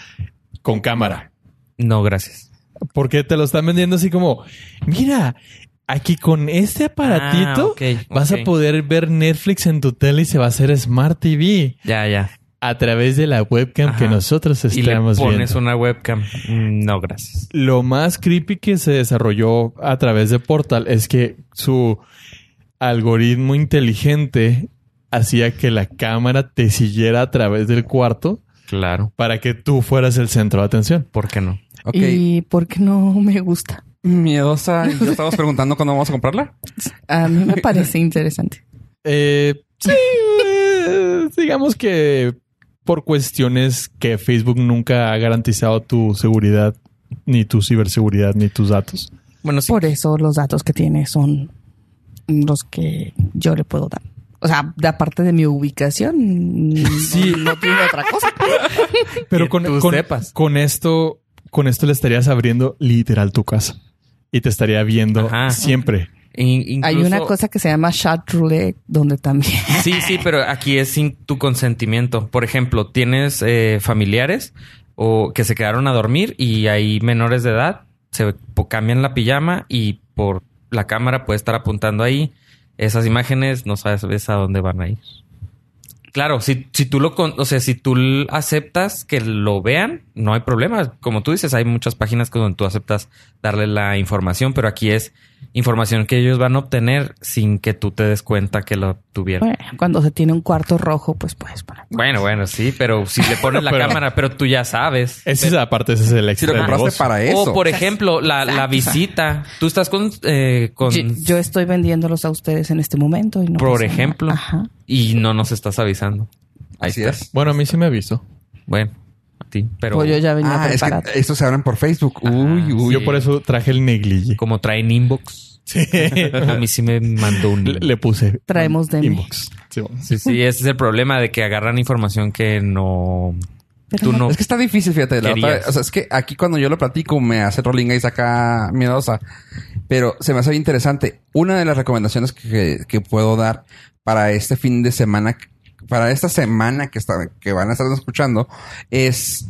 B: con cámara.
C: No, gracias.
B: Porque te lo están vendiendo así como, mira, aquí con este aparatito
C: Ah, ok,
B: vas
C: ok.
B: a poder ver Netflix en tu tele y se va a hacer Smart TV
C: Ya, ya.
B: a través de la webcam
C: Ajá.
B: que nosotros
C: Y le
B: estamos
C: pones
B: viendo.
C: una webcam. Mm, No, gracias.
B: lo más creepy que se desarrolló a través de Portal es que su algoritmo inteligente hacía que la cámara te siguiera a través del cuarto
C: Claro.
B: para que tú fueras el centro de atención.
C: ¿Por qué no?
A: ok.
D: ¿Y por qué no me gusta?
A: <laughs> Miedosa. y Yo estamos preguntando cuándo vamos a comprarla.
D: A mí me parece interesante.
B: Eh, sí, eh, digamos que por cuestiones que Facebook nunca ha garantizado tu seguridad, ni tu ciberseguridad, ni tus datos.
C: Bueno, sí.
D: Por eso los datos que tiene son los que yo le puedo dar. O sea, de aparte de mi ubicación, sí. no, tiene otra cosa.
B: Pero
C: Que
B: con,
C: tú
B: con-
C: sepas.
B: con esto, con esto le estarías abriendo literal tu casa y te estaría viendo
C: Ajá.
B: siempre.
C: In-
D: Hay
C: incluso-
D: una cosa que se llama chat roulette, donde
C: <laughs>
D: también.
C: Sí, sí, pero aquí es sin tu consentimiento. Por ejemplo, tienes eh, familiares o que se quedaron a dormir y hay menores de edad, se po- cambian la pijama y por la cámara puede estar apuntando ahí. Esas imágenes no sabes ves a dónde van a ir. Claro, si, si tú lo con- o sea, si tú l- aceptas que lo vean, no hay problema. Como tú dices, hay muchas páginas con donde tú aceptas darle la información, pero aquí es información que ellos van a obtener sin que tú te des cuenta que lo tuvieron.
D: Bueno, cuando se tiene un cuarto rojo, pues puedes poner.
C: Bueno, bueno, sí, pero si le pones la
B: Pero-
C: cámara, pero tú ya sabes.
B: Ese es, aparte, ese es el
A: Si
B: extra
A: lo
B: del
A: compraste
B: negocio.
A: para eso.
C: O, por ejemplo, la, la visita. Tú estás con... eh, con-
D: Yo, yo estoy vendiéndolos a ustedes en este momento y no.
C: Por
D: pasa nada.
C: ejemplo.
D: Ajá.
C: Y no nos estás avisando. Ahí
A: Así
C: está.
A: es.
B: Bueno, a mí sí me avisó.
C: Bueno, a ti. Pero
D: Pues yo ya venía
A: Ah, es que
D: preparada.
A: estos se abren por Facebook. Uy,
C: Ah,
A: uy.
B: Yo por eso traje el neglige.
C: como traen inbox, a mí sí me mandó un...
B: le,
C: inbox.
B: le puse
D: Traemos de mí.
B: inbox. Sí, bueno.
C: Sí, sí, ese es el problema de que agarran información que no...
D: Pero
C: Tú
D: no-
C: no...
A: Es que está difícil, fíjate. La
C: Querías.
A: otra vez- o sea, es que aquí cuando yo lo platico me hace Rolinga y saca miedosa. Pero se me hace bien interesante. Una de las recomendaciones que, que- que puedo dar para este fin de semana, para esta semana que, está- que van a estar escuchando, es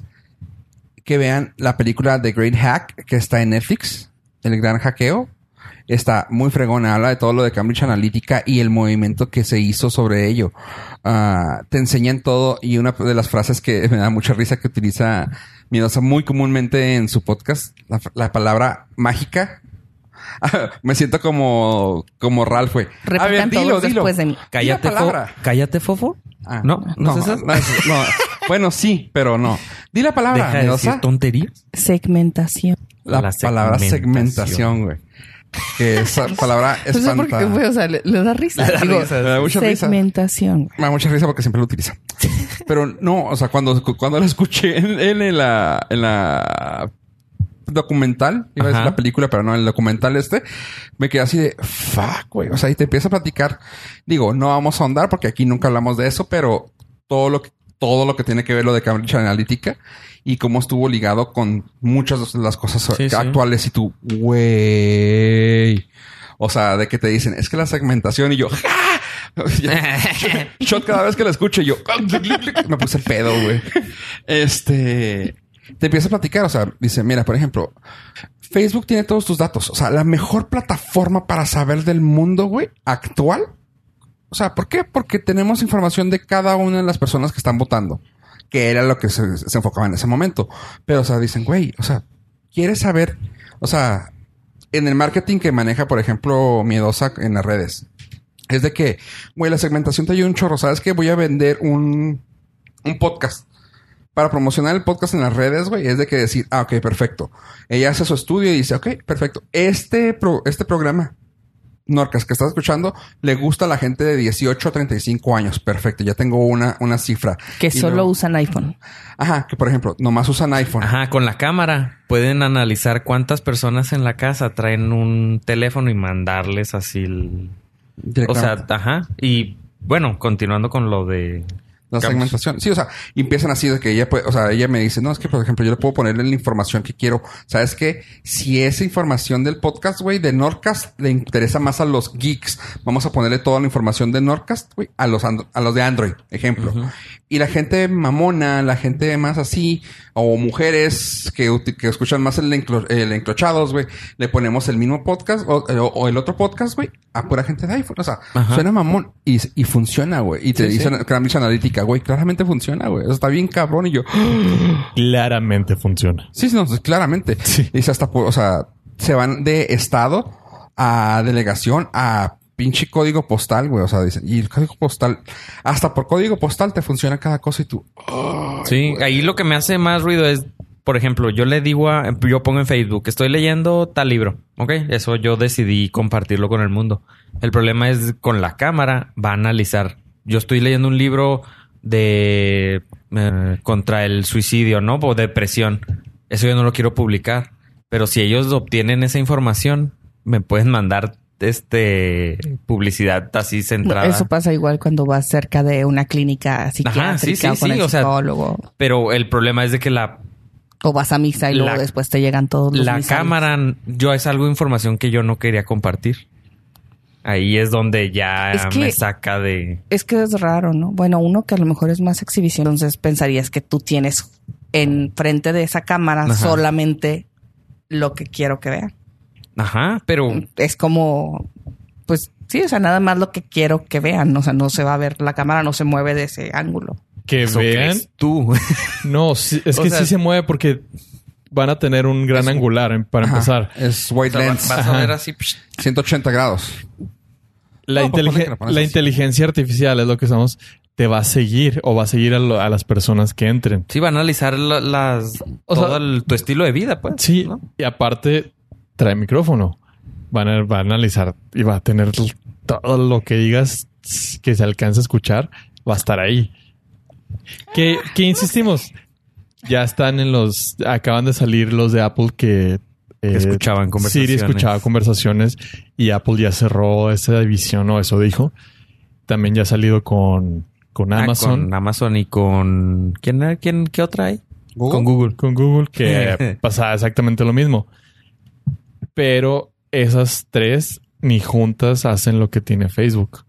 A: que vean la película The Great Hack que está en Netflix, El Gran Hackeo. Está muy fregona, habla de todo lo de Cambridge Analytica y el movimiento que se hizo sobre ello. Ah, te enseñan todo y una de las frases que <laughs> me da mucha risa que utiliza Miedosa muy comúnmente en su podcast, la, la palabra mágica. <laughs> me siento como, como Ralph, güey. A ver,
D: Repitan
A: dilo,
D: todos
A: dilo.
D: después de mí.
C: Cállate,
A: Di la
C: fo-
A: palabra.
C: Cállate, Fofo.
A: Ah,
C: no, no, es esa?
A: no es- no. <laughs> Bueno, sí, pero no. Di la palabra,
C: Deja de
A: Miedosa.
C: decir tonterías.
D: Segmentación.
A: La,
C: La
A: palabra
C: segmentación.
A: segmentación, güey. que
D: <laughs>
A: esa palabra
D: No sé por
A: espanta.
D: qué, Pues güey, o sea, le, le da risa.
C: Le da
D: Digo,
C: risa,
A: <laughs> Me da mucha risa.
D: segmentación.
A: Me da mucha risa porque siempre lo utiliza. Pero no, o sea, cuando, cuando la escuché en, en, la, en la documental, iba a decir
C: Ajá.
A: la película, pero no, el documental este, me quedé así de fuck, güey. O sea, y te empieza a platicar. Digo, no vamos a ahondar porque aquí nunca hablamos de eso, pero todo lo que todo lo que tiene que ver lo de Cambridge Analytica y cómo estuvo ligado con muchas de las cosas
C: Sí, sí.
A: actuales y tú, güey. O sea, de que te dicen, es que la segmentación y yo, ¡ja! <laughs> Shot cada vez que la escucho y yo <laughs> me puse pedo, güey. Este te empieza a platicar. O sea, dice: Mira, por ejemplo, Facebook tiene todos tus datos. O sea, la mejor plataforma para saber del mundo, güey, actual. O sea, ¿por qué? Porque tenemos información de cada una de las personas que están votando, que era lo que se, se enfocaba en ese momento. Pero, o sea, dicen, güey, o sea, quieres saber, o sea, en el marketing que maneja, por ejemplo, Miedosa en las redes, es de que, güey, la segmentación te ayuda un chorro. ¿Sabes qué? Voy a vender un, un podcast. Para promocionar el podcast en las redes, güey, es de que decir, ah, ok, perfecto. Ella hace su estudio y dice, ok, perfecto. Este, pro- este programa, Norcas, que estás escuchando, le gusta a la gente de 18 a 35 años. Perfecto, ya tengo una, una cifra.
D: Que
A: Y
D: solo
A: luego-
D: usan iPhone.
A: Ajá, que por ejemplo, nomás usan iPhone.
C: Ajá, con la cámara pueden analizar cuántas personas en la casa traen un teléfono y mandarles así el... O
A: Directamente.
C: sea, ajá. Y bueno, continuando con lo de...
A: La
C: Digamos.
A: segmentación. Sí, o sea, y empiezan así de que ella puede, o sea, ella me dice, no, es que por ejemplo yo le puedo ponerle la información que quiero. ¿Sabes qué? Si esa información del podcast, güey, de Nordcast le interesa más a los geeks, vamos a ponerle toda la información de Nordcast, güey, a los, and- a los de Android, ejemplo. Y la gente mamona, la gente más así, o mujeres que, uti- que escuchan más el, enclo- el enclochados, güey, le ponemos el mismo podcast o, o- o el otro podcast, güey, a pura gente de iPhone. O sea,
C: Ajá.
A: suena mamón y, y funciona, güey. Y te dicen Cambridge Analytica, güey, claramente funciona, güey. Eso está bien cabrón. Y yo, <gasps>
B: Claramente funciona.
A: sí, sí, no, pues, claramente.
B: Sí.
A: Dice hasta, por- o sea, se van de estado a delegación a pinche código postal, güey. O sea, dicen, y el código postal, hasta por código postal te funciona cada cosa y tú,
C: Sí, ahí lo que me hace más ruido es, por ejemplo, yo le digo a, yo pongo en Facebook, estoy leyendo tal libro, ¿ok? Eso yo decidí compartirlo con el mundo. El problema es con la cámara, va a analizar. Yo estoy leyendo un libro de eh, contra el suicidio, ¿no? O depresión. Eso yo no lo quiero publicar. Pero si ellos obtienen esa información, me pueden mandar este publicidad así centrada.
D: Eso pasa igual cuando vas cerca de una clínica psiquiátrica
C: sí,
D: o con
C: sí,
D: el
C: o sea,
D: psicólogo.
C: Pero el problema es de que la
D: O vas a misa y luego
C: La-
D: después te llegan todos los
C: la
D: misales.
C: cámara, yo es algo de información que yo no quería compartir. Ahí es donde ya
D: Es que-
C: me saca de.
D: Es que es raro, ¿no? Bueno, uno que a lo mejor es más exhibición, entonces pensarías que tú tienes enfrente de esa cámara
C: Ajá.
D: solamente lo que quiero que vean.
C: Ajá, pero
D: Es como, pues sí, o sea, nada más lo que quiero que vean. O sea, no se va a ver, la cámara no se mueve de ese ángulo.
B: Que
C: ¿eso
B: vean.
C: crees <laughs> tú.
B: No, sí, es
C: O
B: que
C: sea,
B: sí se mueve porque van a tener un gran angular en- para
A: Ajá,
B: empezar.
A: Es white lens,
C: vas a ver así. psh,
A: 180 grados.
B: La,
A: No, pues ponle
B: inteligen-
A: que la pones
B: la
A: así.
B: inteligencia artificial es lo que estamos. Te va a seguir o va a seguir a, lo- a las personas que entren.
C: Sí, va a analizar la- las.
B: O
C: todo
B: sea-
C: el- tu estilo de vida, pues.
B: Sí,
C: ¿no?
B: y aparte trae micrófono. Van a, va a analizar y va a tener l- todo lo que digas que se alcance a escuchar, va a estar ahí. Que, que insistimos, ya están en los, acaban de salir los de Apple que,
C: Que
B: eh,
C: escuchaban conversaciones.
B: Siri escuchaba conversaciones y Apple ya cerró esa división o eso dijo. También ya ha salido con, con
C: Ah,
B: Amazon,
C: con Amazon y con. ¿Quién, era? quién, ¿Qué otra hay?
A: Google.
B: con Google, con Google,
C: <laughs>
B: que pasaba exactamente lo mismo. Pero esas tres ni juntas hacen lo que tiene Facebook.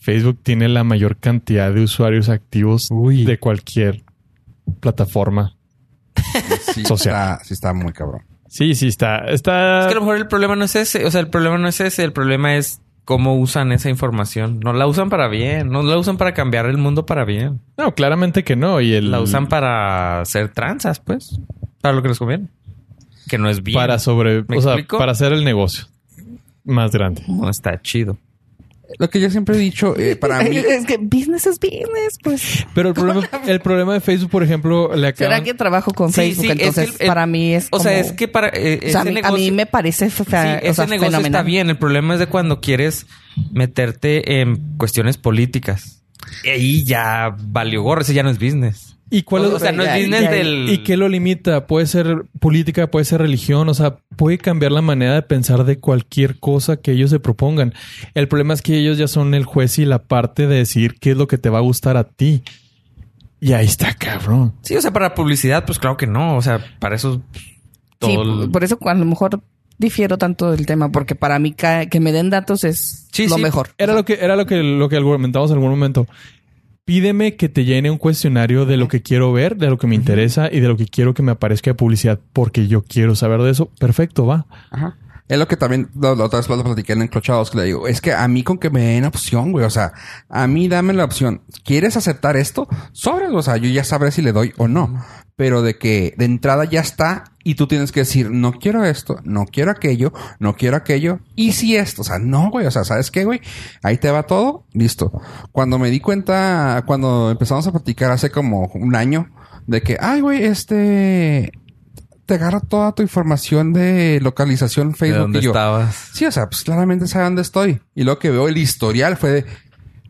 B: Facebook tiene la mayor cantidad de usuarios activos
C: Uy.
B: de cualquier plataforma.
A: Sí,
B: Social.
A: Está, sí está muy cabrón.
B: Sí, sí, está. está
C: Es que a lo mejor el problema no es ese. O sea, el problema no es ese. El problema es cómo usan esa información. No la usan para bien. No la usan para cambiar el mundo para bien.
B: No, claramente que no. Y el,
C: La usan para hacer tranzas, pues. Para lo que les conviene. Que no es bien.
B: para sobre,
C: ¿Me
B: o sea,
C: explico?
B: para hacer el negocio más grande.
C: No está chido.
A: lo que yo siempre he dicho, eh, para
B: <laughs>
A: mí,
D: <laughs> Es que business es business, pues.
B: Pero el problema, el problema de Facebook, por ejemplo, le acaban...
D: ¿Será que trabajo con
C: Sí,
D: Facebook?
C: sí, es
D: Entonces,
C: el- el-
D: para mí es
C: O sea,
D: como-
C: es que para eh,
D: o sea, a,
C: ese
D: mí, a
C: negocio,
D: mí me parece fe-
C: sí,
D: o
C: ese
D: sea,
C: negocio está
D: fenomenal.
C: bien. El problema es de cuando quieres meterte en cuestiones políticas. Ahí ya valió gorro, ese ya no es business.
B: ¿Y cuál
C: o,
B: es-
C: o sea, no
D: Ya,
C: es
D: ya,
C: business
D: ya.
C: del
B: ¿Y qué lo limita? Puede ser política, puede ser religión, o sea, puede cambiar la manera de pensar de cualquier cosa que ellos se propongan. El problema es que ellos ya son el juez y la parte de decidir qué es lo que te va a gustar a ti. Y ahí está, cabrón.
C: Sí, o sea, para publicidad, pues claro que no. O sea, para eso pues,
D: Sí,
C: todo el-
D: por eso a lo mejor difiero tanto del tema, porque para mí ca- que me den datos es
C: Sí,
D: lo
C: sí.
D: mejor.
B: Era lo que, era lo que, lo que argumentamos en algún momento. Pídeme que te llene un cuestionario de lo que quiero ver, de lo que me interesa y de lo que quiero que me aparezca de publicidad, porque yo quiero saber de eso. Perfecto, va.
A: Ajá. Es lo que también la, la otra vez lo platiqué en Enclochados, que le digo, es que a mí con que me den opción, güey, o sea, a mí dame la opción, ¿quieres aceptar esto? Sobre, o sea, yo ya sabré si le doy o no, pero de que de entrada ya está y tú tienes que decir, no quiero esto, no quiero aquello, no quiero aquello, y si esto, o sea, no, güey, o sea, ¿sabes qué, güey? Ahí te va todo, listo. Cuando me di cuenta, cuando empezamos a platicar hace como un año, de que, ay, güey, este, te agarra toda tu información de localización
C: de
A: Facebook
C: dónde
A: y yo.
C: estabas.
A: Sí, o sea, pues claramente sabe dónde estoy. Y lo que veo el historial fue de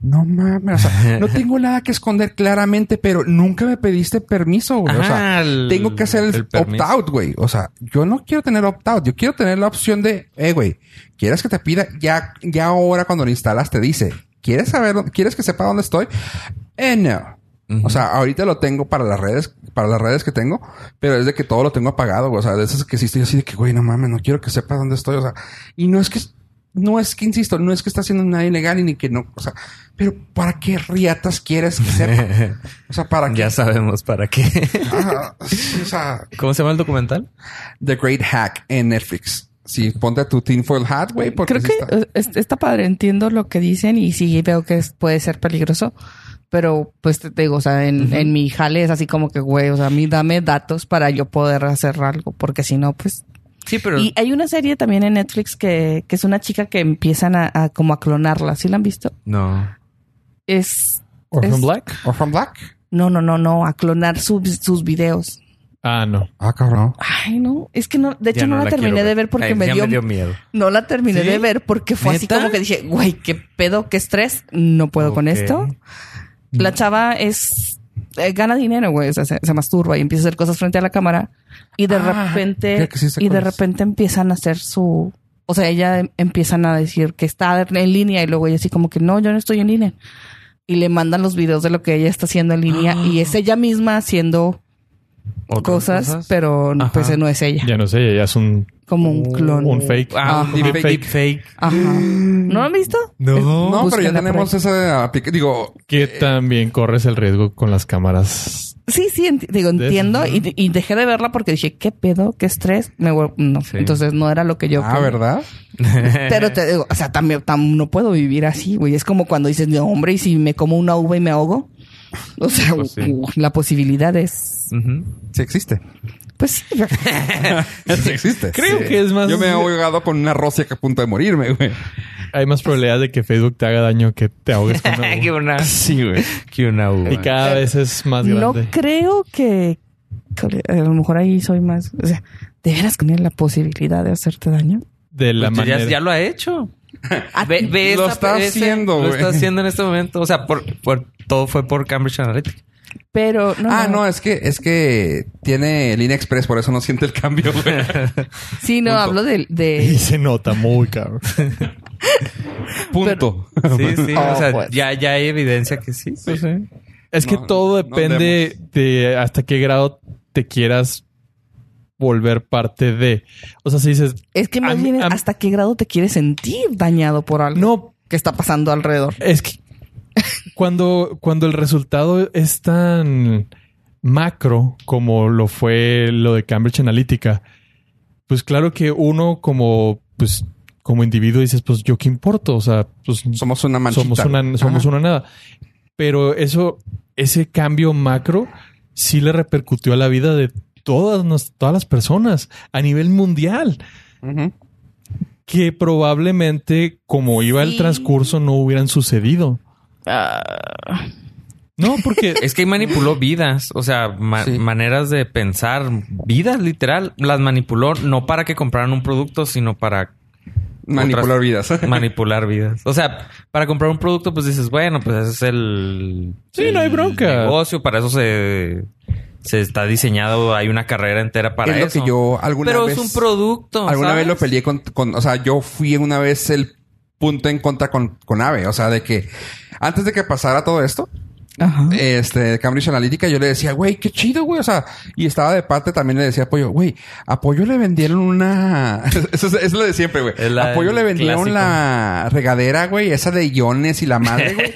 A: no mames, o
C: <laughs>
A: sea, no tengo nada que esconder claramente, pero nunca me pediste permiso, güey. O sea,
C: Ajá, el-
A: tengo que hacer el,
C: Ah, el permiso.
A: opt-out, güey. O sea, yo no quiero tener opt-out. Yo quiero tener la opción de, eh, güey, ¿quieres que te pida? Ya, ya ahora cuando lo instalas te dice, ¿quieres saber, dó- quieres que sepa dónde estoy? Eh, no. O sea, ahorita lo tengo para las redes, para las redes que tengo, pero es de que todo lo tengo apagado, güey. O sea, de esas que sí estoy así de que, güey, no mames, no quiero que sepa dónde estoy. O sea, y no es que, no es que, insisto, no es que está haciendo nada ilegal y ni que no, o sea, pero ¿para qué riatas quieres que
C: <laughs>
A: sepa? O sea, ¿para qué?
C: Ya sabemos para qué.
A: Ajá. Sí, o sea,
C: ¿Cómo se llama el documental?
A: The Great Hack en Netflix. Si ponte tu tinfoil hat, güey, porque
D: Creo
A: sí
D: que
A: está-
D: eh, es- está padre, entiendo lo que dicen y sí veo que es- puede ser peligroso, pero pues te, te digo, o sea, en, en mi jale es así como que, güey, o sea, a mí dame datos para yo poder hacer algo, porque si no, pues...
C: Sí, pero
D: Y hay una serie también en Netflix que, que es una chica que empiezan a, a como a clonarla, ¿sí la han visto?
C: no.
D: Es...
B: Orphan
D: Es-
B: Black.
A: Orphan Black.
D: No, no, no, no, a clonar sus, sus videos.
B: Ah, no.
A: Ah, cabrón.
D: Ay, no, es que no, de hecho
C: Ya
D: no, la, terminé
C: quiero
D: de
C: ver.
D: ver porque
C: Ay,
D: me
C: ya
D: dio,
C: miedo.
D: no la terminé
C: ¿Sí?
D: de ver porque fue así
C: ¿Neta?
D: como que dije, güey, qué pedo, qué estrés, no puedo con
C: Ok.
D: esto. La chava es eh, gana dinero, güey, o sea, se, se masturba y empieza a hacer cosas frente a la cámara y de
A: Ah, creo
D: repente
A: que sí sé
D: y de
A: cuál es.
D: repente empiezan a hacer su o sea, ella em- empiezan a decir que está en línea y luego ella así como que no, yo no estoy en línea. Y le mandan los videos de lo que ella está haciendo en línea y es ella misma haciendo
C: ¿Otras
D: cosas,
C: cosas?
D: pero
C: Ajá.
D: pues no es ella,
B: Ya no sé, ya es un,
D: como un clon.
B: un fake.
C: Ah,
A: Ah,
C: un deepfake.
A: deepfake.
C: deepfake.
A: <gasps>
D: Ajá. ¿No lo han visto?
A: No, pero ya
D: Búsquenla
A: tenemos
D: por
A: esa aplica- Digo,
C: Eh,
B: Que también corres el riesgo con las cámaras.
D: Sí, sí, enti- digo,
B: De
D: entiendo y, y dejé de verla porque dije, ¿qué pedo? ¿Qué estrés? Me vuel- no,
C: Sí.
D: entonces no era lo que yo
A: ah,
D: quería.
A: ¿verdad?
D: Pero te digo, o sea, también tam- no puedo vivir así, güey. Es como cuando dices, no, hombre, y si me como una uva y me ahogo. O sea,
C: Pues sí.
D: u- la posibilidad es,
C: <laughs> Ujú.
A: Sí existe.
D: pues sí,
A: <laughs> Sí existe.
B: Creo
A: Sí.
B: que es más-
A: Yo me he ahogado con una rocia que a punto de morirme, güey.
B: Hay más probabilidad de que Facebook te haga daño que te ahogues
C: <laughs>
B: con una
C: que
B: uva.
C: una
A: Sí, güey.
C: que una uva.
B: Y cada vez es más
D: no
B: grande.
D: creo que, que a lo mejor ahí soy más, o sea, ¿de veras tener la posibilidad de hacerte daño?
B: De la
C: Pues tú ya-
B: manera.
C: ya, lo ha hecho.
D: Ah,
C: Ve, ve
A: Lo
C: esa-
A: está
C: ese-
A: haciendo,
C: Lo
A: güey.
C: está haciendo en este momento. O sea, por, por- todo fue por Cambridge
D: <laughs>
C: Analytica.
D: Pero no,
A: ah, no, es que, es que tiene línea express, por eso no siente el cambio, güey.
D: sí, no, hablo de,
B: <laughs>
D: de
A: <laughs>
B: Y se nota muy cabrón.
A: Punto. <laughs>
C: Sí, sí.
D: Oh,
C: o sea,
D: pues.
C: ya, ya hay evidencia que <laughs> sí. pues sí.
B: Es que
A: No,
B: todo
A: no
B: depende de hasta qué grado te quieras volver parte de. O sea, si dices,
D: Es que
B: A
D: más
B: mí-
D: bien,
B: a mí-
D: ¿hasta qué grado te quieres sentir dañado por algo
B: no,
D: que está pasando alrededor?
B: es que cuando, cuando el resultado es tan macro como lo fue lo de Cambridge Analytica, pues claro que uno como, pues, como individuo dices, pues yo qué importo, o sea, pues
A: Somos una manchita.
B: somos una, somos
A: Ajá.
B: una nada. Pero eso, ese cambio macro sí le repercutió a la vida de todas, nos- todas las personas a nivel mundial.
A: Ujú.
B: que probablemente como iba el
D: Sí.
B: transcurso no hubieran sucedido.
C: Ah.
B: No, porque
C: Es que manipuló vidas, o sea, ma-
A: Sí.
C: maneras de pensar, vidas literal. Las manipuló no para que compraran un producto, sino para
A: Manipular
C: Otras-
A: vidas.
C: manipular vidas. O sea, para comprar un producto, pues dices, bueno, pues ese es el.
B: Sí, no hay
C: el
B: bronca.
C: Negocio, para eso se, se está diseñado, hay una carrera entera para
A: es
C: eso.
A: lo que yo alguna
C: Pero
A: vez...
C: es un producto.
A: Alguna
C: ¿sabes?
A: vez lo peleé con, con- O sea, yo fui una vez el punto en contra con, con AVE. O sea, de que antes de que pasara todo esto,
D: Ajá.
C: Eh,
A: este, Cambridge Analytica, yo le decía, güey, qué chido, güey. O sea, y estaba de parte también le decía a Pollo, güey, a Pollo le vendieron una. <laughs> eso, es, eso es lo de siempre, güey.
C: Es la-
A: A Pollo le
C: el
A: vendieron
C: clásico.
A: la regadera, güey, esa de iones y la madre, güey.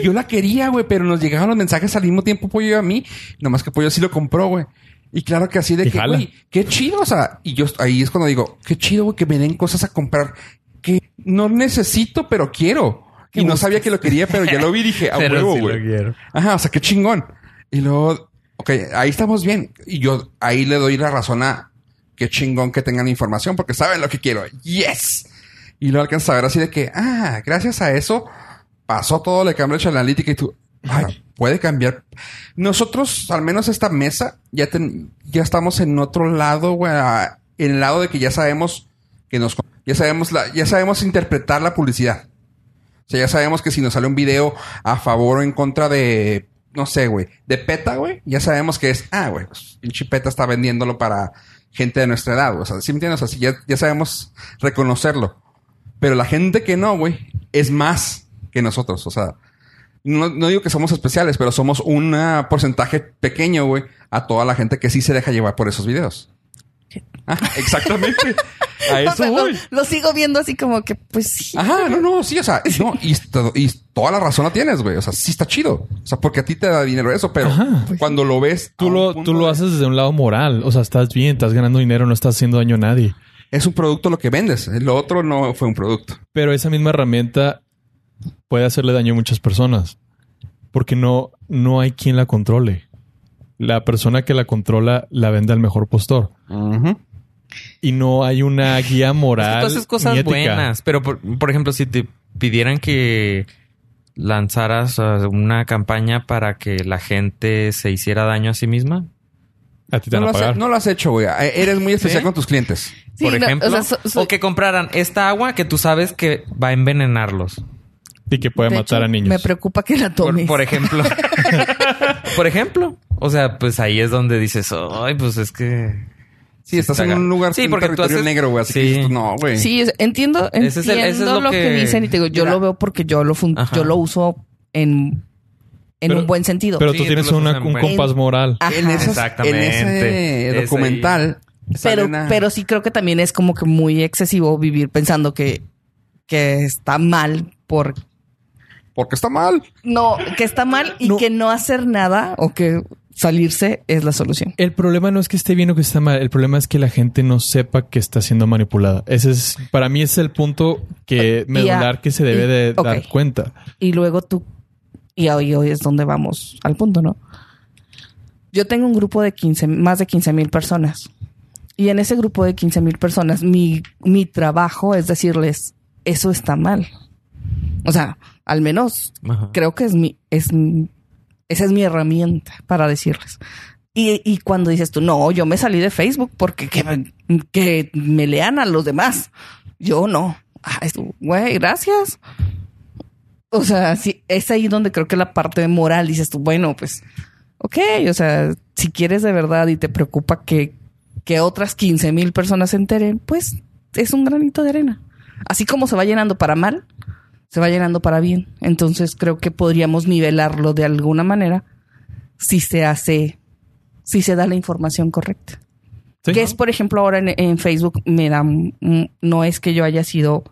A: Y yo la quería, güey, pero nos llegaban los mensajes al mismo tiempo, Pollo y a mí. Nomás que Pollo sí lo compró, güey. Y claro que así de
B: Y
A: que,
B: jala.
A: güey, qué chido. O sea, y yo ahí es cuando digo, qué chido, güey, que me den cosas a comprar que no necesito, pero quiero. Y no sabía que lo quería, pero ya lo vi y dije, a
C: <laughs> Pero
A: huevo,
C: sí lo
A: güey.
B: quiero.
A: Ajá, o sea, qué chingón. Y luego, ok, ahí estamos bien. Y yo ahí le doy la razón a qué chingón que tengan información porque saben lo que quiero. ¡Yes! Y lo alcanza a ver así de que, ah, gracias a eso pasó todo lo de Cambridge Analytica y tú, ay, puede cambiar. Nosotros, al menos esta mesa, ya, ten- ya estamos en otro lado, güey, a- en el lado de que ya sabemos que nos, ya sabemos la, ya sabemos interpretar la publicidad. O sea, ya sabemos que si nos sale un video a favor o en contra de, no sé, güey, de PETA, güey, ya sabemos que es, ah, güey, pues, pinche PETA está vendiéndolo para gente de nuestra edad, güey. O sea, ¿sí me entiendes? O sea, sí, ya, ya sabemos reconocerlo. Pero la gente que no, güey, es más que nosotros. O sea, no, no digo que somos especiales, pero somos un ah, porcentaje pequeño, güey, a toda la gente que sí se deja llevar por esos videos. Ah, exactamente. a
D: <laughs> O sea,
A: eso
D: lo,
A: voy.
D: lo sigo viendo así como que, pues sí.
C: Ah,
A: Ajá, no, no, sí, o sea, no, y, to- y toda la razón la tienes, güey. O sea, sí está chido. O sea, porque a ti te da dinero eso, pero
B: Ajá.
A: cuando lo ves. a
B: Tú
A: un
B: lo,
A: punto
B: tú lo
A: de-
B: haces desde un lado moral. O sea, estás bien, estás ganando dinero, no estás haciendo daño a nadie.
A: Es un producto lo que vendes. Lo otro no fue un producto.
B: Pero esa misma herramienta puede hacerle daño a muchas personas. Porque no, no hay quien la controle. La persona que la controla la vende al mejor postor. Y no hay una guía
C: Es que
B: moral.
C: tú haces cosas
B: ni ética.
C: buenas, pero por, por ejemplo, si te pidieran que lanzaras uh, una campaña para que la gente se hiciera daño a sí misma,
B: A ti te
A: No
B: van
A: lo,
B: a
A: has,
B: pagar.
A: no lo has hecho, güey. Eh, Eres muy especial
C: ¿Sí?
A: con tus clientes.
D: Sí,
C: por
D: no,
C: ejemplo,
D: o sea, so- so-
C: o que compraran esta agua que tú sabes que va a envenenarlos.
B: Y que puede
D: de
B: matar
D: hecho,
B: a niños.
D: Me preocupa que la
C: Por,
D: tomes.
C: por ejemplo. por ejemplo. O sea, pues ahí es donde dices, ay, pues es que...
A: Sí, estás
C: está
A: en
C: ga-
A: un lugar,
C: Sí,
A: un
C: porque tú
A: territorio
C: haces-
A: negro, güey. Así que
C: Sí.
A: dices "Pues tú, no, güey.
D: Sí, es- entiendo, entiendo
C: Ese es el- ese es
D: lo, que... dicen y te digo, yo
A: Mira.
D: lo veo porque yo lo fun-
C: Ajá.
D: yo lo uso en, en
B: Pero-
D: un buen sentido.
B: Pero
C: Sí,
B: tú tienes
C: tú lo
B: una-
C: haces en
B: un
C: buena-
B: compás moral.
D: Ajá.
A: En, esas-
C: Exactamente.
A: en
C: Es
A: ese
C: ahí.
A: documental. sale
D: pero,
A: una-
D: pero sí creo que también es como que muy excesivo vivir pensando que, que está mal por
A: Porque está mal.
D: no, que está mal y
B: No.
D: que no hacer nada o que salirse es la solución.
B: El problema no es que esté bien o que está mal, el problema es que la gente no sepa que está siendo manipulada. Ese es, para mí, es el punto que medular que se debe de
D: Ah, y- ok.
B: dar cuenta.
D: Y luego tú, y hoy, hoy es donde vamos al punto, ¿no? Yo tengo un grupo de 15, más de 15 mil personas. Y en ese grupo de 15 mil personas, mi, mi trabajo es decirles, eso está mal. O sea, al menos
C: Ajá.
D: creo que es mi, es, mi- esa es mi herramienta para decirles. Y, y cuando dices tú, no, yo me salí de Facebook porque que me, que me lean a los demás. Yo no. Ah, es- Güey, gracias. O sea, sí, es ahí donde creo que la parte moral dices tú, bueno, pues, ok, o sea, si quieres de verdad y te preocupa que, que otras 15 mil personas se enteren, pues es un granito de arena. Así como se va llenando para mal, se va llenando para bien. Entonces creo que podríamos nivelarlo de alguna manera si se hace, si se da la información correcta.
B: ¿Sí?
D: Que es, por ejemplo, ahora en, en Facebook me da, mm, no es que yo haya sido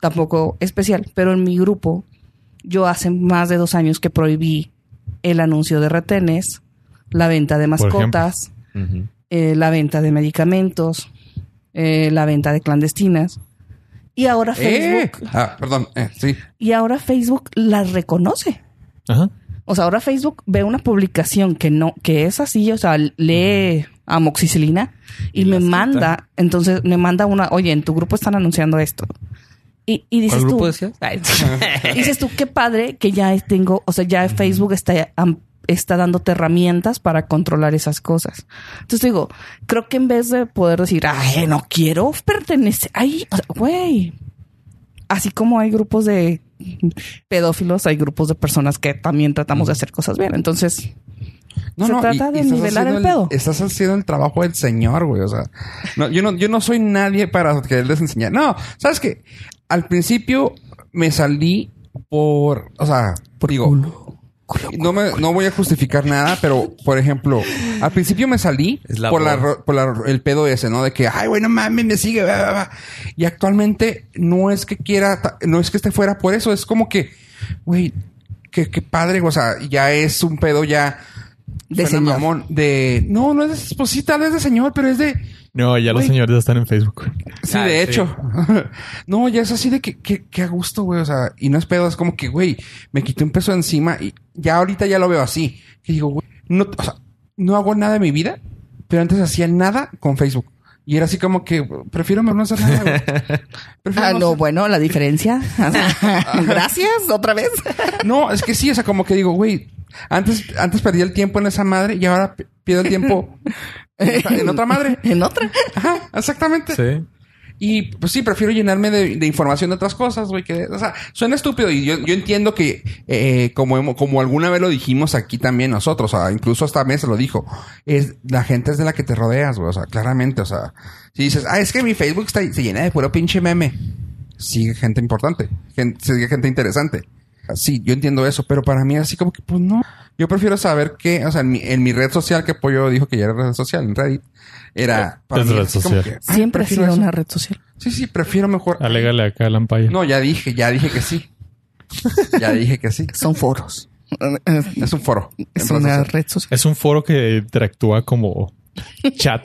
D: tampoco especial, pero en mi grupo yo hace más de dos años que prohibí el anuncio de retenes, la venta de
B: ejemplo.
D: mascotas,
C: Ujú.
D: eh, la venta de medicamentos, eh, la venta de clandestinas. Y ahora
A: Eh.
D: Facebook
A: Ah, perdón. Eh, sí.
D: y ahora Facebook las reconoce.
B: Ajá.
D: O sea, ahora Facebook ve una publicación que no, que es así, o sea, lee amoxicilina y,
C: Y la
D: me
C: cita.
D: manda, entonces me manda una, oye, en tu grupo están anunciando esto. Y, y dices
C: ¿Cuál
D: tú,
C: grupo
D: <laughs>
C: decías? Ay,
D: dices tú, qué padre que ya tengo, o sea, ya Facebook está, am- está dándote herramientas para controlar esas cosas. Entonces digo, creo que en vez de poder decir, ay, no quiero pertenecer, ay, o sea, güey. Así como hay grupos de pedófilos, hay grupos de personas que también tratamos de hacer cosas bien. Entonces, Se trata de
A: estás
D: nivelar
A: haciendo
D: el pedo.
A: Estás haciendo el trabajo del señor, güey. O sea, no, yo, no, yo no soy nadie para quererles enseñar. No, ¿sabes qué? Al principio me salí por... O sea, digo... no, me, no voy a justificar nada, pero por ejemplo, al principio me salí
C: Es la
A: por, la,
C: voz.
A: ro- por la- el pedo ese, ¿no? De que, ay, güey, no mames, me sigue. bla, bla, bla". Y actualmente no es que quiera, ta- no es que esté fuera por eso, es como que, güey, qué, qué padre, o sea, ya es un pedo ya
D: De
A: Suena
D: señor.
A: mamón, de no, no es de, pues sí, tal vez de señor, pero es de
B: No, ya los
A: Güey.
B: señores están en Facebook.
A: sí,
C: Ah,
A: de
C: sí.
A: hecho. <laughs> no, ya es así de que, que, que a gusto, güey. O sea, y no es pedo, es como que, güey, me quité un peso encima y ya ahorita ya lo veo así. Que digo, güey, no, o sea, no hago nada en mi vida, pero antes hacía nada con Facebook. Y era así como que prefiero no hacer nada, güey. Prefiero
D: Ah,
A: no
D: no,
A: hacer-
D: bueno,
A: <laughs>
D: la diferencia. Gracias, otra vez.
A: No, es que sí, o sea, como que digo, güey, antes, antes perdí el tiempo en esa madre y ahora p- pierdo el
D: <laughs>
A: tiempo en otra- en otra madre.
D: En otra.
A: Ajá, exactamente.
B: Sí.
A: Y pues sí, prefiero llenarme de, de información de otras cosas, güey. Que, o sea, suena estúpido y yo, yo entiendo que, eh, como, hemo- como alguna vez lo dijimos aquí también nosotros, o sea, incluso hasta Mesa lo dijo, es la gente es de la que te rodeas, güey. O sea, claramente, o sea, si dices, ah, es que mi Facebook está, se llena de puro pinche meme, sigue gente importante, gente, sigue gente interesante. Sí, yo entiendo eso, pero para mí así como que, pues no. Yo prefiero saber que, o sea, en mi, en mi red social, que Pollo dijo que ya era red social, en Reddit, era... para
B: Es
A: mí
B: red
A: así como
B: social.
A: ah,
D: Siempre ha
A: prefiero
D: sido
A: eso.
D: una red social.
A: Sí, sí, prefiero mejor.
B: Alégale acá a Lampaya.
A: No, ya dije, ya dije que sí. ya dije que sí. <laughs>
D: Son foros.
A: Es un foro.
D: Es
A: Entonces,
D: una red social.
B: Es un foro que interactúa
D: <laughs>
B: como chat.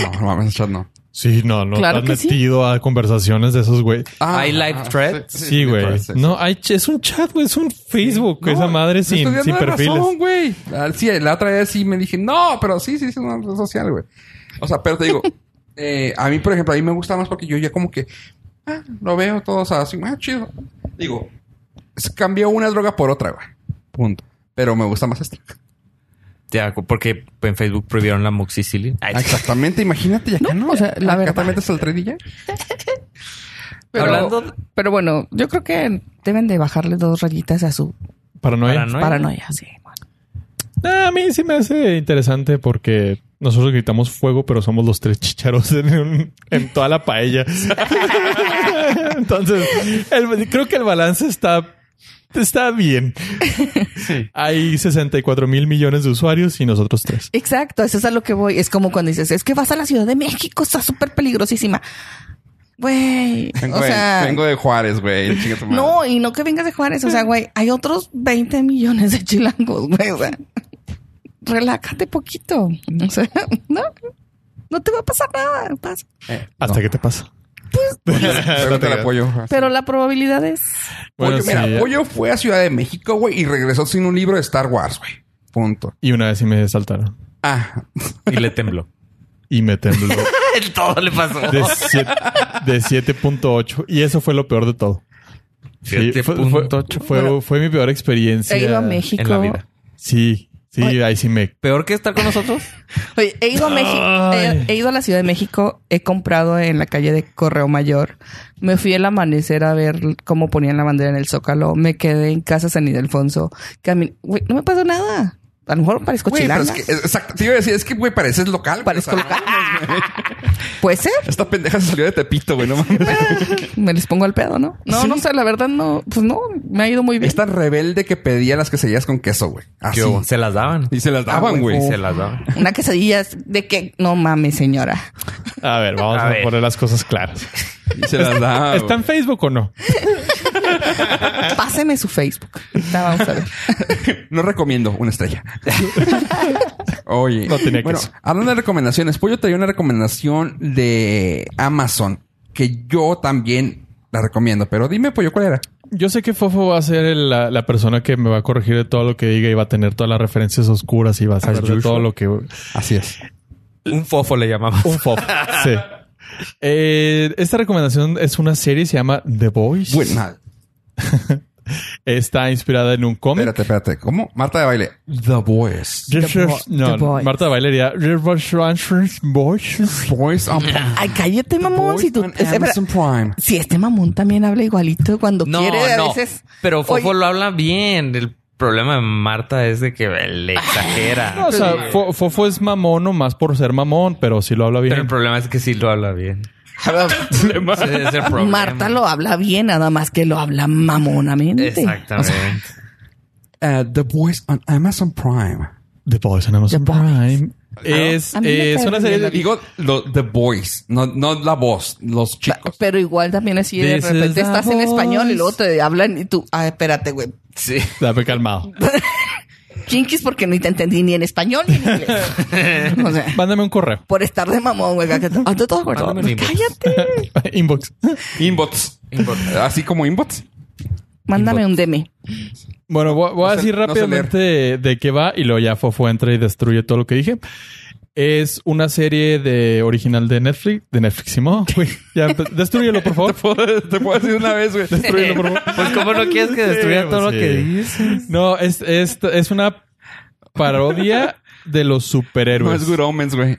A: No, no mames, chat no.
B: Sí, no, no
D: Claro
B: te
D: que
B: has
D: sí.
B: metido a conversaciones de esos, güey.
A: Ah,
C: ¿Hay live
A: ah,
C: thread?
B: Sí, güey.
A: sí, sí.
B: No, hay ch- es un chat, güey. Es un Facebook.
A: No,
B: esa madre
A: me estoy
B: sin,
A: dando
B: sin
A: la
B: perfiles.
A: razón, güey. Ah, Sí, la otra vez sí me dije, no, pero sí, sí, es una red social, güey. O sea, pero te
D: <laughs>
A: digo, eh, a mí, por ejemplo, a mí me gusta más porque yo ya como que ah, lo veo todo, o sea, así, ah, chido. Digo, se cambió una droga por otra, güey. Punto. Pero me gusta más esta.
C: Ya, porque en Facebook prohibieron la moxicilina. Ay,
A: Exactamente, imagínate ya. que
D: No, o sea, la
A: Acá
D: verdad.
A: te metes al tren y ya.
D: Pero,
C: Hablando-
D: pero bueno, yo creo que deben de bajarle dos rayitas a su
B: Paranoia.
C: Paranoia.
D: paranoia. Sí.
B: Ah, a mí sí me hace interesante porque nosotros gritamos fuego, pero somos los tres chicharos en, un- en toda la <laughs> paella. Entonces, el- creo que el balance está, está bien. Hay 64 mil millones de usuarios y nosotros tres.
D: Exacto, eso es a lo que voy. Es como cuando dices, es que vas a la Ciudad de México, está súper peligrosísima. Güey,
A: Vengo,
D: o
A: de-
D: sea,
A: vengo de Juárez, güey. Chinga tu madre.
D: no, y no que vengas de Juárez, o sea, güey, hay otros 20 millones de chilangos, güey, o sea, relájate poquito, o sea, <laughs> no, no te va a pasar nada, pasa.
A: <laughs> Eh,
B: Hasta
A: no.
B: que te pasa. <laughs>
A: Pero te Pues, la apoyo.
D: pero la probabilidad es,
B: Bueno,
A: Pollo, mira,
B: sí,
A: Pollo fue a Ciudad de México, güey, y regresó sin un libro de Star Wars, güey. Punto.
B: Y una vez sí me saltaron
A: Ah,
C: Y le <laughs> tembló.
B: y me tembló
C: Todo le pasó.
B: de siete- de 7.8. Y eso fue lo peor de todo. Sí, fue, fue-
C: 7.8.
B: fue- fue mi peor experiencia.
D: he ido a México,
C: en la vida.
B: Sí, sí, ahí sí me.
C: Peor que estar con nosotros.
D: Oye, he ido a México,
B: Ay.
D: he, he ido a la Ciudad de México, he comprado en la calle de Correo Mayor, me fui el amanecer a ver cómo ponían la bandera en el Zócalo, me quedé en casa San Ildefonso, camin- güey, no me pasó nada. A lo mejor parezco
A: güey, pero
D: chilanga.
A: es que, es- exacto. Te iba a decir, es que, güey, pareces local. <laughs> güey.
D: Parezco
A: O sea,
D: local. Puede ser,
A: Esta pendeja se salió de Tepito, güey, no mames.
D: me les pongo al pedo, ¿no? No,
A: Sí.
D: no sé, la verdad no, pues no, me ha ido muy bien.
A: es tan rebelde que pedía las quesadillas con queso, güey. Así.
C: ¿Qué hubo? Se las daban.
A: Ah, Y se las daban,
D: Ah,
A: güey. oh.
D: güey.
C: Se las daban.
D: Una quesadilla es de que no mames, señora.
B: A ver, vamos
C: A
B: a,
C: ver. Ah,
B: poner las cosas claras.
A: Y se <laughs> las daban.
B: ¿Está en
A: güey.
B: Facebook o no?
D: Páseme su Facebook. Ya vamos a ver.
A: No recomiendo una estrella. <laughs> Oye.
B: No tenía
A: bueno,
B: queso.
A: hablando de recomendaciones, Pollo traía una recomendación de Amazon que yo también la recomiendo. Pero dime, Pollo, ¿cuál era?
B: Yo sé que Fofo va a ser el- la, la persona que me va a corregir de todo lo que diga y va a tener todas las referencias oscuras y va a saber de
A: usual.
B: todo lo que... Un
A: Así es.
C: Un fofo le llamaba.
B: Fofo, sí. Eh, esta recomendación es una serie, se llama The Voice.
A: Buena.
B: Está inspirada en un cómic.
A: Espérate, espérate. ¿Cómo? Marta de baile. The Boys.
B: Richard-
D: The
B: no,
D: Boys.
B: Marta Bailería. Voice.
A: Boys on Prime.
D: Ay, cállate, mamón.
A: Boys
D: si tú.
A: on
D: espera,
A: Amazon Prime.
D: si este mamón también habla igualito cuando
C: <laughs> No,
D: quiere, a
C: no.
D: veces.
C: Pero Fofo
D: Oye.
C: lo habla bien. El problema de Marta es de que le exagera.
B: No, o sea, Fo- Fofo es mamón nomás por ser mamón, pero si lo habla bien.
C: Pero el problema es que sí lo habla bien. <laughs> Ese es el problema.
D: Marta lo habla bien, nada más que lo habla mamonamente.
C: Exactamente.
A: Eh, The Boys on Amazon Prime.
B: The Boys en Amazon
D: The Boys.
B: Prime. Es,
D: A mí me
B: es
D: cae
B: una
D: bien
B: serie
D: la
B: de,
A: Digo lo- The Boys, no, no la voz, los chicos.
D: Pero igual también así
B: This
D: de
B: is the
D: repente estás en español
B: voice.
D: y luego te hablan y tú, ah, espérate, güey.
A: Sí.
B: Dame
D: <laughs>
B: calmado.
D: Chinquis porque ni te entendí ni en español ni en inglés. o sea,
B: Mándame un
D: <laughs>
B: correo. <laughs>
D: por estar de mamón, güey. que- Ah, ¿tú te acuerdas?
C: Mándame un inbox.
D: Cállate.
B: Inbox.
A: Inbots. Así como inbots. <laughs>
D: Mándame un DM.
B: Bueno, voy, voy
A: No
B: a
A: sé-
B: decir
A: no sé
B: rápidamente de, de qué va y luego ya Fofo entra y destruye todo lo que dije. Es una serie de original de Netflix, de Netflix, <laughs> Simón. Güey, ya, empe- destruyelo, por favor.
A: Te puedo decir una vez, güey.
B: Destrúyelo, por favor.
C: <laughs> Pues, ¿cómo no quieres que destruya
B: Sí,
C: todo
B: pues,
C: lo que
B: sí.
C: dices?
B: No, es, es, es una parodia de los
A: No
B: superhéroes.
A: es Good Omens, güey.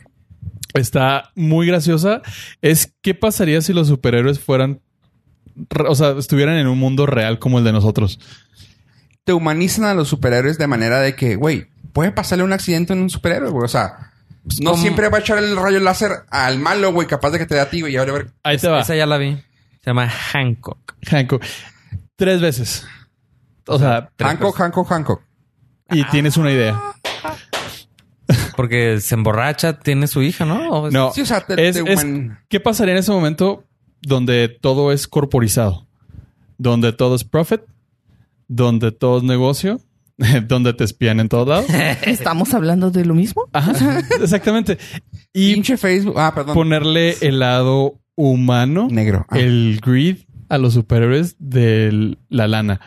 B: Está muy graciosa. Es qué pasaría si los superhéroes fueran, re- o sea, estuvieran en un mundo real como el de nosotros.
A: Te humanizan a los superhéroes de manera de que, güey, puede pasarle un accidente en un superhéroe, güey. O sea, pues, no
C: como-
A: siempre va a echar el rayo láser al malo, güey, capaz de que te dé a ti, güey. Y ahora a ver.
B: Ahí te va,
C: Esa ya la vi. Se llama Hancock.
B: Hancock. Tres veces. O sea,
C: Tres
A: Hancock, Hancock, Hancock.
B: y tienes una idea.
A: Ah,
C: Porque se emborracha, tiene su hija, ¿no? ¿O es-
B: No,
A: pues, Sí, o sea, te-
B: es-
A: te
B: es-
A: human-
B: ¿qué pasaría en ese momento donde todo es corporizado? Donde todo es profit, donde todo es negocio, <laughs> donde te espían en todos lados.
D: ¿Estamos hablando de lo mismo?
B: Ajá, <laughs> exactamente. Y
A: Pinche Facebook. Ah, perdón.
B: ponerle el lado humano,
A: Negro. Ah.
B: el greed a los superhéroes de la lana.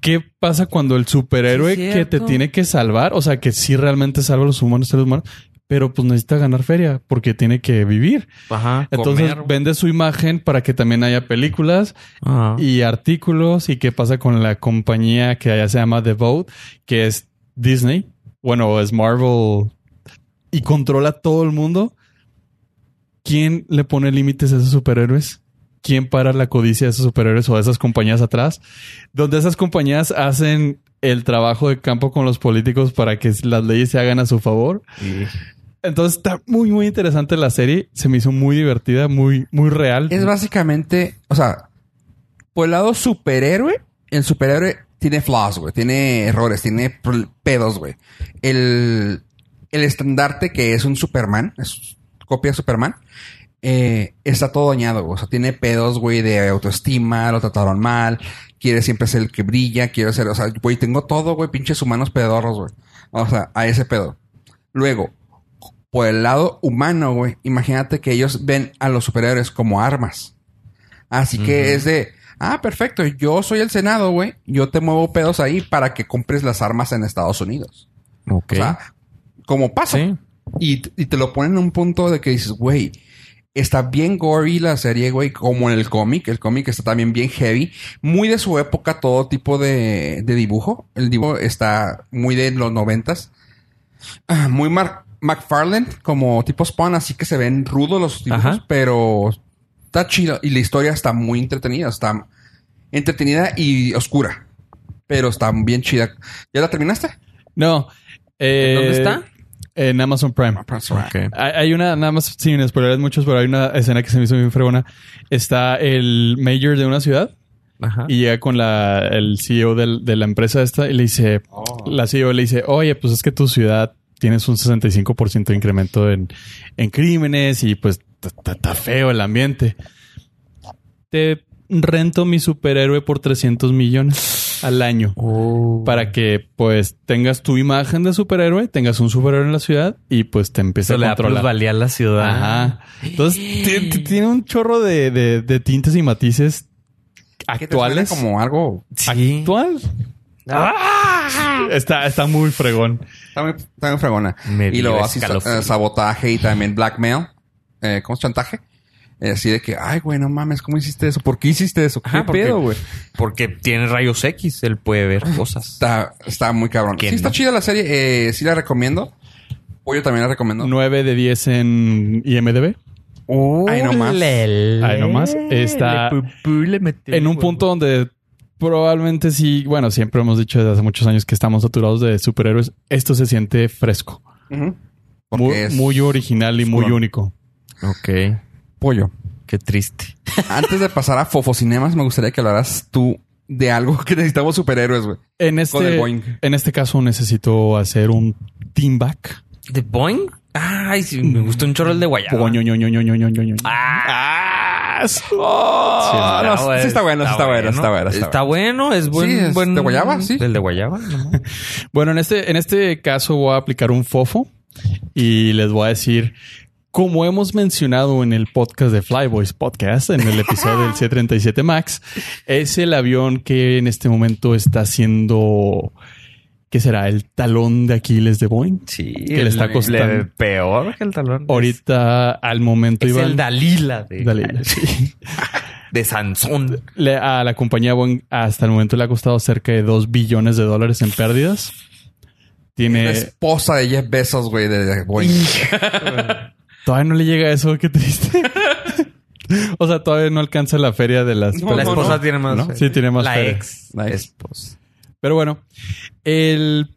B: ¿Qué pasa cuando el superhéroe
C: Sí, es
B: que te
C: cierto.
B: tiene que salvar, o sea, que sí realmente salva a los humanos, seres humanos, pero pues necesita ganar feria porque tiene que vivir?
C: Ajá.
B: Entonces
C: comer.
B: vende su imagen para que también haya películas
C: Ajá.
B: y artículos y qué pasa con la compañía que allá se llama The Boat, que es Disney, bueno, es Marvel y controla todo el mundo. ¿Quién le pone límites a esos superhéroes? ¿Quién para la codicia de esos superhéroes o de esas compañías atrás? Donde esas compañías hacen el trabajo de campo con los políticos para que las leyes se hagan a su favor. Entonces está muy, muy interesante la serie. Se me hizo muy divertida, muy, muy real.
A: Es básicamente, o sea, por el lado superhéroe, el superhéroe tiene flaws, güey. Tiene errores, tiene pr- pedos, güey. El, el estandarte que es un Superman, es copia de Superman, eh, está todo dañado, güey. O sea, tiene pedos, güey, de autoestima, lo trataron mal, quiere siempre ser el que brilla, quiere ser, o sea, güey, tengo todo, güey, pinches humanos pedorros, güey. O sea, a ese pedo. Luego, por el lado humano, güey, imagínate que ellos ven a los superhéroes como armas. Así que es de, ah, perfecto, yo soy el Senado, güey, yo te muevo pedos ahí para que compres las armas en Estados Unidos.
C: Ok.
A: O sea, como pasa.
C: Sí.
A: Y, y te lo ponen en un punto de que dices, güey, está bien gory la serie, güey, como en el cómic. El cómic está también bien heavy. Muy de su época, todo tipo de, de dibujo. El dibujo está muy de los noventas. Ah, Muy Mark McFarland, como tipo Spawn, así que se ven rudos los dibujos,
C: Ajá.
A: pero está chido. Y la historia está muy entretenida. Está entretenida y oscura. Pero está bien chida. ¿Ya la terminaste?
B: No. eh,
C: ¿Dónde está?
B: En Amazon Prime.
C: Ok.
B: Hay, hay una, nada más sin spoiler muchos, pero hay una escena que se me hizo bien fregona. Está el mayor de una ciudad
C: Ajá.
B: y llega con la, el CEO del- de la empresa esta y le dice, la CEO le dice, oye, pues es que tu ciudad tienes un 65% de incremento en, en crímenes y pues está feo el ambiente. Te rento mi superhéroe por 300 millones al año
C: Oh.
B: para que pues tengas tu imagen de superhéroe, tengas un superhéroe en la ciudad y pues te empiece
C: Eso
B: a
C: le da
B: controlar.
C: plusvalía a la ciudad.
B: Ajá. Entonces ti- ti- tiene un chorro de, de- de tintes y matices
A: ¿Qué te suena
B: actuales.
A: Como algo.
C: Sí. Ah.
B: ¿Actual? Está, está muy fregón.
A: Está muy, está muy fregona.
C: Me
A: y luego
C: dio
A: así sa-
C: escalofrío.
A: eh, sabotaje y también blackmail. Eh, ¿Cómo es chantaje? Eh, así de que, ay, güey, no mames, ¿cómo hiciste eso? ¿Por qué hiciste eso? ¿Qué
C: Ajá, porque-
A: pedo, güey?
C: Porque tiene rayos X, él puede <laughs> ver cosas.
A: Está, está muy cabrón. Sí,
C: ¿Quién
A: está
C: no?
A: chida la serie. Eh, sí la recomiendo. O yo también la recomiendo.
B: 9 de 10 en IMDB.
A: Ahí nomás.
B: Ahí nomás. Está en un punto donde probablemente sí, bueno, siempre hemos dicho desde hace muchos años que estamos saturados de superhéroes. Esto se siente fresco.
A: Ujú. Porque
B: Muy,
A: es
B: muy original y muy
A: oscuro.
B: único.
C: Ok.
A: pollo.
C: Qué triste.
A: <laughs> Antes de pasar a Fofocinemas, me gustaría que hablaras tú de algo <laughs> que necesitamos superhéroes, güey.
B: En
A: Con el
B: este,
A: Boeing.
B: en este caso necesito hacer un team back.
C: ¿De Boeing? Ay, sí, me gustó un chorro el de Guayaba.
B: Boñoñoñoñoñoñoñoño.
C: Ah,
B: Ah, sí. Oh,
A: no, sí está bueno, sí está bueno, está bueno, está
C: Está bueno, es buen.
A: Sí, es
C: buen-
A: de guayaba, sí.
C: Del de Guayaba. ¿no?
B: Bueno, en este, en este caso voy a aplicar un fofo y les voy a decir, como hemos mencionado en el podcast de Flyboys Podcast, en el episodio del C-37 Max, es el avión que en este momento está siendo, ¿qué será? El talón de Aquiles de Boeing.
C: Sí,
B: le está
C: el-
B: costando.
C: le- peor que el talón.
B: Ahorita, al momento,
C: Es, es
B: Iván-
C: el Dalila de,
B: Dalila, sí.
C: de Sansón.
B: Le- a la compañía Boeing hasta el momento le ha costado cerca de 2 billones de dólares en pérdidas.
A: La
B: Tiene...
A: esposa de Jeff Bezos, güey, de de Boeing.
B: Todavía no le llega eso,
C: <laughs>
B: qué triste. o sea, todavía no alcanza la feria de las...
A: No,
C: la
A: no,
C: esposa
A: no.
C: tiene más.
B: ¿No?
C: fe.
B: Sí, tiene más
C: La
B: fe.
C: ex.
A: La ex.
C: esposa.
B: Pero bueno, el...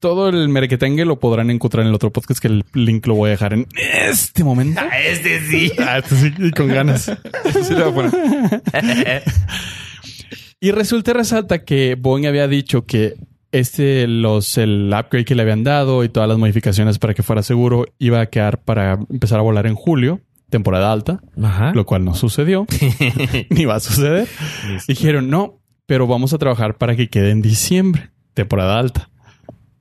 B: Todo el merequetengue lo podrán encontrar en el otro podcast que el link lo voy a dejar en este
C: <laughs>
B: momento.
C: Ah, Este sí.
B: Ah, esto sí, con ganas.
A: <laughs> Sí, le voy a poner.
B: Y resulta y resalta que Boeing había dicho que este, los, el upgrade que le habían dado y todas las modificaciones para que fuera seguro iba a quedar para empezar a volar en julio, temporada alta,
C: <laughs> Ajá.
B: lo cual no sucedió, <laughs> ni va a suceder. Dijeron, no, pero vamos a trabajar para que quede en diciembre, temporada alta.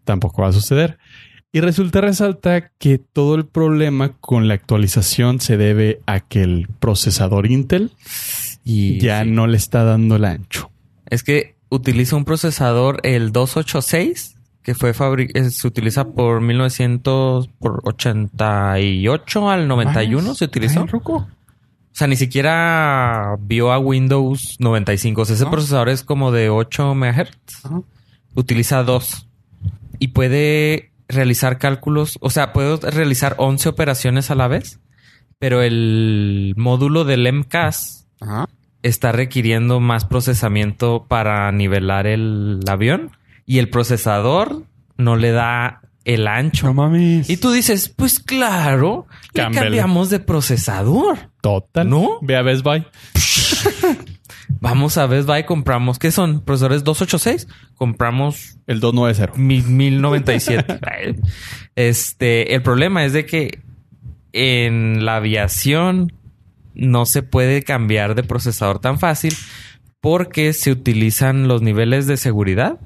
B: Tampoco va a suceder. Y resulta resalta que todo el problema con la actualización se debe a que el procesador Intel
C: <laughs> Y
B: ya no le está dando el ancho.
C: Es que utiliza un procesador, el 286, que fue fabri- eh, se utiliza por 1988 al 91, se utilizó.
A: Ay,
C: O
A: ruco.
C: sea, ni siquiera vio a Windows 95. O sea, ese
A: No.
C: procesador es como de 8 MHz.
A: Ajá.
C: Utiliza 2. Y puede realizar cálculos, o sea, puede realizar 11 operaciones a la vez, pero el módulo del MCAS
A: Ajá.
C: está requiriendo más procesamiento para nivelar el avión y el procesador no le da el ancho.
B: mames.
C: Y tú dices, pues claro, le
B: Cámbiale.
C: cambiamos de procesador.
B: Total.
C: ¿No?
B: Ve a Best Buy.
C: Vamos a Best Buy, compramos, ¿qué son? Procesadores 286, compramos
B: El 290.
C: mi- 1097. Ay. este, el problema es de que en la aviación no se puede cambiar de procesador tan fácil porque se utilizan los niveles de seguridad.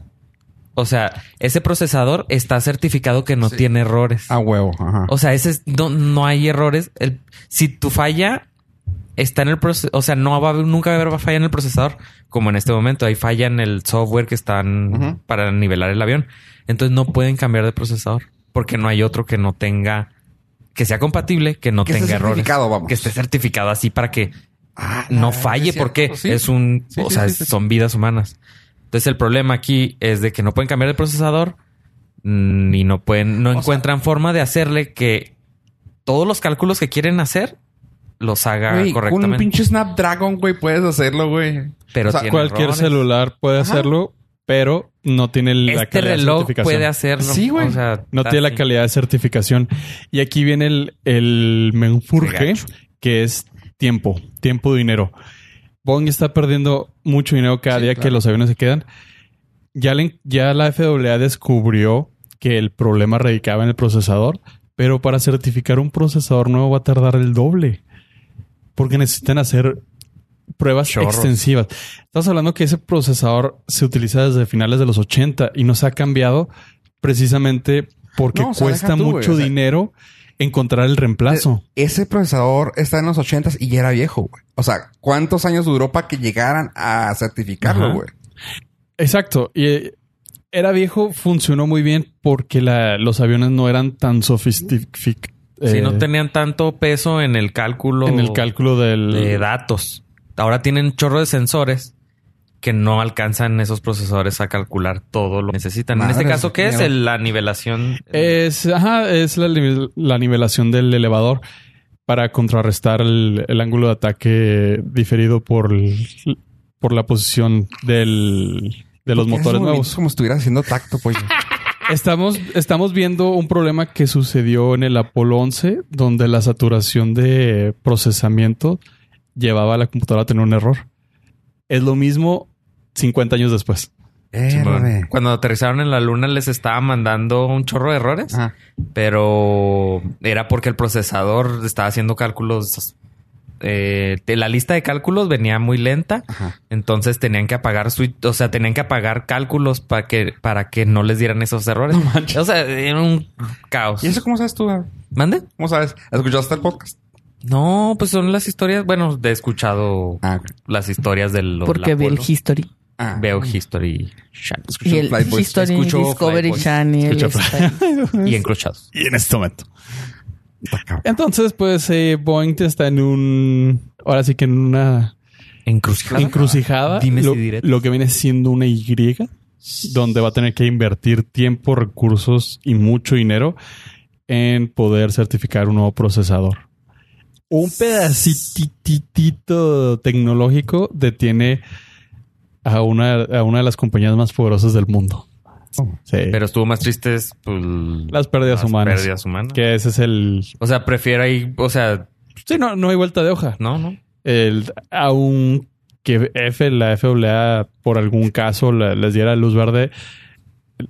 C: O sea, ese procesador está certificado que no
A: Sí. Ah,
C: tiene errores.
A: A huevo. Ajá.
C: O sea, ese es- no, no hay errores. El- si tu falla está en el proceso, o sea, no va a haber, nunca va a haber falla en el procesador, como en este momento. Hay falla en el software que están
A: Ujú.
C: para nivelar el avión. Entonces no pueden cambiar de procesador porque no hay otro que no tenga, que sea compatible, que no
A: Que esté
C: tenga errores.
A: certificado, vamos.
C: Que esté certificado así para que
A: Ah,
C: no
A: es
C: falle
A: cierto,
C: porque
A: sí.
C: es un,
A: Sí,
C: o
A: sí,
C: sea,
A: sí, sí.
C: son vidas humanas. Entonces el problema aquí es de que no pueden cambiar de procesador mm, y no pueden, no
A: sea-
C: encuentran forma de hacerle que todos los cálculos que quieren hacer los haga
A: Güey, con un
C: correctamente.
A: pinche Snapdragon, güey, puedes hacerlo, güey.
C: Pero
A: o sea,
C: tiene
B: Cualquier
C: errores.
B: celular puede
A: Ajá.
B: hacerlo, pero no tiene la
C: Este
B: calidad de
C: reloj
B: certificación.
C: puede hacerlo.
A: Sí, güey.
C: sea,
B: No
C: está
B: tiene la
C: así.
B: calidad de certificación. Y aquí viene el, el
A: Qué
B: menjurje,
A: gacho.
B: que es tiempo, tiempo, dinero. Boeing está perdiendo mucho dinero cada
A: Sí,
B: día que
A: claro.
B: los aviones se quedan. Ya, le- ya la FAA descubrió que el problema radicaba en el procesador, pero para certificar un procesador nuevo va a tardar el doble, porque necesitan hacer pruebas
C: Chorros.
B: extensivas. Estamos hablando que ese procesador se utiliza desde finales de los 80 y no se ha cambiado precisamente porque
A: No, o sea,
B: cuesta
A: deja tú, güey,
B: mucho
A: o sea,
B: dinero encontrar el reemplazo.
A: Ese procesador está en los 80s y ya era viejo, güey. O sea, ¿cuántos años duró para que llegaran a certificarlo,
B: Ajá.
A: güey?
B: Exacto. Y eh, era viejo, funcionó muy bien porque la- los aviones no eran tan sofisticados.
C: si
B: eh,
C: no tenían tanto peso en el cálculo.
B: en el cálculo del
C: de datos. Ahora tienen chorro de sensores que no alcanzan esos procesadores a calcular todo lo que necesitan. en este
A: Madres, Eh,
C: caso, ¿qué es
A: miedo.
C: El- la nivelación?
B: Es, ajá, es la, nive- la nivelación del elevador para contrarrestar el, el ángulo de ataque diferido por, el- por la posición del, de
A: Porque
B: los
A: esos
B: motores
A: movimientos
B: nuevos.
A: como si estuviera haciendo tacto,
C: <laughs>
A: pues.
B: Estamos, estamos viendo un problema que sucedió en el Apolo 11, donde la saturación de procesamiento llevaba a la computadora a tener un error. Es lo mismo 50 años después.
A: Erre.
C: Cuando aterrizaron en la luna les estaba mandando un chorro de errores,
A: Ajá.
C: pero era porque el procesador estaba haciendo cálculos. eh, de la lista de cálculos venía muy lenta,
A: Ajá.
C: entonces tenían que apagar switch, o sea, tenían que apagar cálculos para que para que no les dieran esos errores. o sea, era un caos.
A: ¿Y eso cómo sabes tú, güey?
C: ¿Mande?
A: ¿Cómo sabes? ¿Escuchaste el podcast?
C: No, pues son las historias. Bueno, he escuchado
A: Ah, ok.
C: las historias de los.
D: Porque vi el History.
A: Ah.
C: Veo History Channel.
A: Escucho
D: Y el
A: Flight Boys.
D: History
C: Escucho
D: Discovery
C: Flight Boys.
D: Channel. está-
A: Ah,
C: y encrochados.
B: Y en este momento.
A: Está cabrón.
B: Entonces, pues eh, Boeing está en un. Ahora sí que en una
C: Encrucijada.
B: encrucijada.
C: Dimes y
B: lo,
C: diretes.
B: lo que viene siendo una Y, donde va a tener que invertir tiempo, recursos y mucho dinero en poder certificar un nuevo procesador. Un pedacitito tecnológico detiene a una, a una de las compañías más poderosas del mundo. Sí.
C: Pero estuvo más triste es, pues,
B: las pérdidas
C: las
B: humanas.
C: pérdidas humanas.
B: Que ese es el...
C: O sea, prefiero ahí. O sea,
B: Sí, no, no hay vuelta de hoja.
C: no, no.
B: el, aun que F, la FAA por algún caso la- les diera luz verde,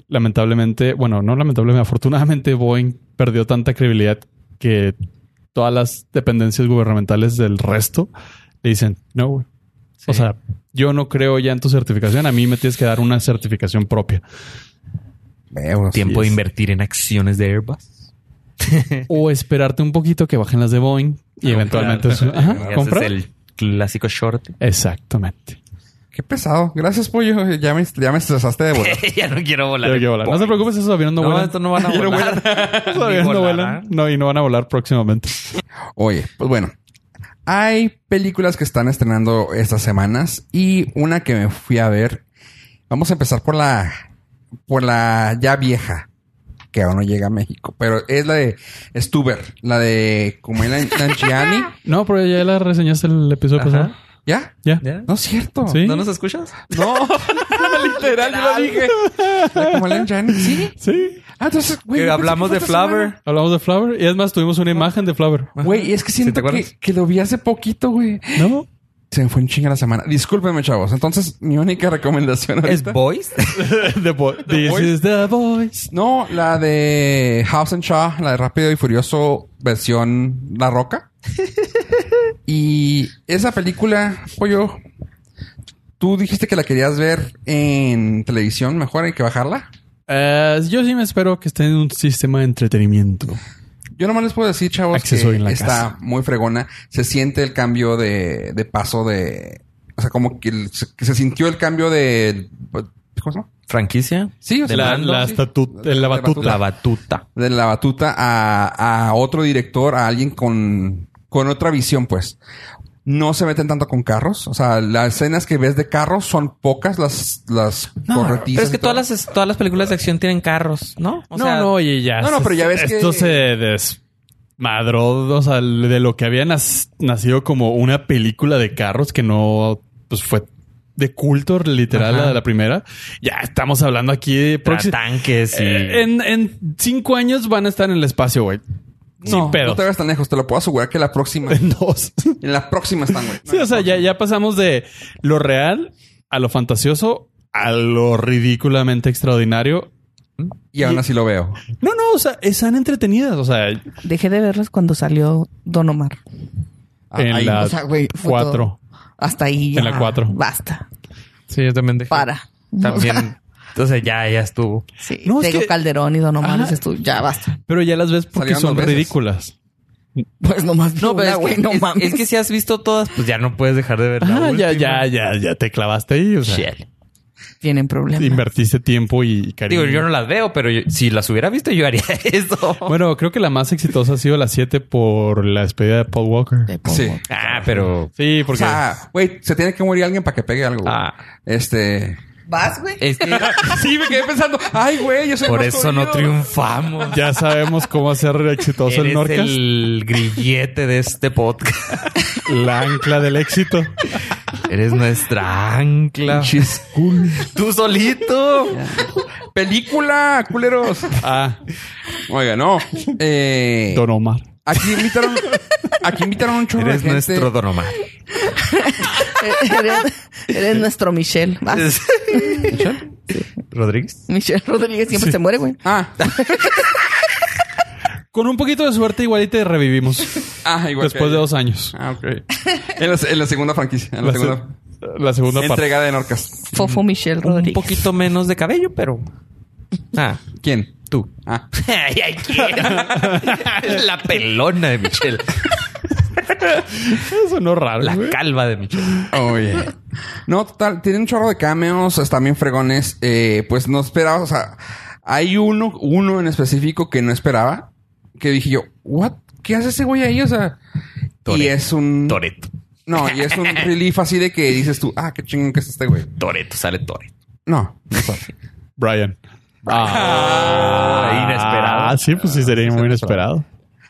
B: lamentablemente, bueno, no lamentablemente, afortunadamente Boeing perdió tanta credibilidad que todas las dependencias gubernamentales del resto le dicen, no, güey.
C: Sí.
B: O sea, yo no creo ya en tu certificación, a mí me tienes que dar una certificación propia.
A: Veo,
C: tiempo de
A: sí es.
C: invertir en acciones de Airbus.
B: O esperarte un poquito que bajen las de Boeing
C: Ah,
B: y eventualmente... su-
C: <laughs>
B: Ajá,
C: Ese
B: comprar.
C: es el clásico short. <laughs>
B: Exactamente.
A: Qué pesado. Gracias, pollo. Ya me, ya me estresaste de
C: <laughs>
A: vuelta.
C: ya no quiero volar.
B: Yo- yo volar. No se preocupes, esos aviones no,
C: No,
B: vuelan.
C: estos no
B: <laughs>
C: van a
B: Yo
C: volar.
B: Esos
C: <laughs>
B: aviones
C: Ni
B: no
C: volar,
B: vuelan.
C: ¿eh?
B: No, y no van a volar próximamente.
A: Oye, pues bueno. Hay películas que están estrenando estas semanas y una que me fui a ver. Vamos a empezar por la por la ya vieja que aún no llega a México, pero es la de Stuber, la de
C: <laughs>
A: Kumail Nanjiani,
B: No, pero ya la reseñaste el episodio
C: Ajá.
B: pasado.
A: ¿ya?
B: Ya.
C: ¿Ya?
A: No es cierto.
B: Sí.
C: ¿No nos escuchas?
A: No. <laughs> Literal, yo lo dije. La Kumail Nanjiani, sí.
B: Sí.
A: Ah, entonces, güey,
C: Que
A: yo pensé
C: hablamos
A: fue
C: de
A: esta
C: Flower.
A: semana.
B: Hablamos de Flower y es más, tuvimos una imagen de Flower.
A: Güey, es que siento
C: acuerdas?
A: que, que lo vi hace poquito, güey.
B: ¿No?
A: Se me fue en chinga la semana. Discúlpeme, chavos. Entonces, mi única <laughs> recomendación
C: ¿Es
A: ahorita...
C: Boys?
B: the boy. This
A: Voice.
B: is the voice.
A: No, la de House and Shaw, la de Rápido y Furioso, versión La
B: <laughs>
A: Roca. y esa película, pollo, tú dijiste que la querías ver en televisión, mejor hay que bajarla.
B: Eh, yo sí me espero que esté en un sistema de entretenimiento.
A: Yo nomás les puedo decir, chavos,
B: Accesorio
A: que
B: en la
A: está
B: casa.
A: muy fregona. Se siente el cambio de, de paso de... O sea, como que el- se, que se sintió el cambio de... ¿Cómo se llama?
C: ¿Franquicia?
A: Sí, o sea,
B: la,
A: mando,
B: la
A: sí.
B: estatu-
A: De
B: la batuta.
C: La batuta.
A: de la batuta a, a otro director, a alguien con, con otra visión, pues. No se meten tanto con carros. O sea, las escenas que ves de carros son pocas las, las corretizas
C: Pero es
A: y
C: que
A: todo.
C: todas las, todas las películas de acción tienen carros, ¿no? O
B: no,
C: sea,
B: no, oye, ya.
A: No, no, pero ya ves que-
B: Esto se desmadró, o sea, de lo que había nas- nacido como una película de carros que no, pues fue de culto, literal,
C: Ajá.
B: la, la primera. Ya estamos hablando aquí de
C: tra-
B: próxi-
C: tanques y...
B: Eh, en, en cinco años van a estar en el espacio, güey.
A: No,
B: sin pedos.
A: no te ves tan lejos. Te lo puedo asegurar que la
B: <laughs>
A: próxima...
B: En dos.
A: en la próxima están, güey.
B: sí, o sea, ya, ya pasamos de lo real a lo fantasioso a lo ridículamente extraordinario.
A: Y aún así lo veo.
B: No, no, o sea, están entretenidas. O sea,
D: Dejé de verlas cuando salió Don Omar.
A: Ah,
B: En
A: ahí.
B: la-
D: O sea, güey, fue
B: cuatro.
D: todo. Hasta ahí.
B: En la cuatro.
D: Basta.
C: Sí, yo también dejé.
D: Para.
C: También O sea, ya, ya estuvo.
D: <laughs> Sí,
B: No, es
D: Tego
B: que-
D: Calderón y Don Omar,
B: Ajá.
D: dices tú, ya basta.
B: Pero ya las ves porque
A: Salieron
B: son
A: dos veces.
B: ridículas.
D: Pues nomás
C: No, pero es,
D: una, güey,
C: que,
D: no
C: es-
D: mames.
C: es que si has visto todas, pues ya no puedes dejar de ver la
B: Ah, ya,
C: última.
B: ya, ya, ya te clavaste ahí. O sea,
C: Shit.
D: tienen problemas.
B: invertiste tiempo y cariño.
C: Digo, yo no las veo, pero yo- si las hubiera visto, yo haría <laughs> eso.
B: Bueno, creo que la más exitosa ha sido la 7 por la despedida de Paul Walker.
D: Te pongo.
A: Sí.
C: ah, pero.
B: Sí,
A: O
B: porque
A: sea, güey, se tiene que morir alguien para que pegue algo. güey.
C: Ah.
A: Este.
D: Vas, güey.
C: Es que
A: Sí, me quedé pensando, ay, güey, yo soy
C: este, por
A: más
C: eso no
A: jodido".
C: triunfamos.
B: ya sabemos cómo hacer exitoso el
C: Eres
B: Norcas.
C: el grillete de este podcast.
B: <laughs> La ancla del éxito.
C: Eres nuestra ancla.
A: Pinches cool.
C: Tú solito.
A: Película, culeros.
B: Ah,
A: Oiga, no. Eh,
B: Don Omar.
A: aquí invitaron, aquí invitaron a un chorro de
C: Eres
A: gente.
C: nuestro Don Omar.
D: <laughs> eres, eres nuestro Michelle. Vas.
C: Rodríguez.
D: Michelle Rodríguez siempre se muere, güey.
A: Ah,
B: Con un poquito de suerte, igual y te revivimos
A: ah, <laughs> igual.
B: después
A: que-
B: de dos años.
A: Ah, ok. En la, en la segunda franquicia. En la,
B: La, se-
A: segunda
B: la segunda parte.
A: entrega de Norcas.
D: Fofo Michelle
C: Mm, Un
D: Rodríguez.
C: poquito menos de cabello, pero. Ah.
A: ¿Quién?
C: Tú.
A: Ah.
C: Ay, ay, ¿quién? La pelona de Michelle.
B: Eso no raro.
C: La
B: güey.
C: calva de Michelle.
A: Oye. No, total, tiene un chorro de cameos, están bien fregones. Eh, pues no esperaba, o sea, hay uno, uno en específico que no esperaba, que dije yo, ¿what? ¿Qué hace ese güey ahí? O sea, y
C: Toreto.
A: es un.
C: Toreto.
A: No, y es un relief así de que dices tú, ah, qué chingón que es este güey.
C: Toreto, sale Toreto.
A: No, no sabe.
B: Brian.
C: Ah, inesperado.
B: Ah, sí, pues sí, sería muy inesperado.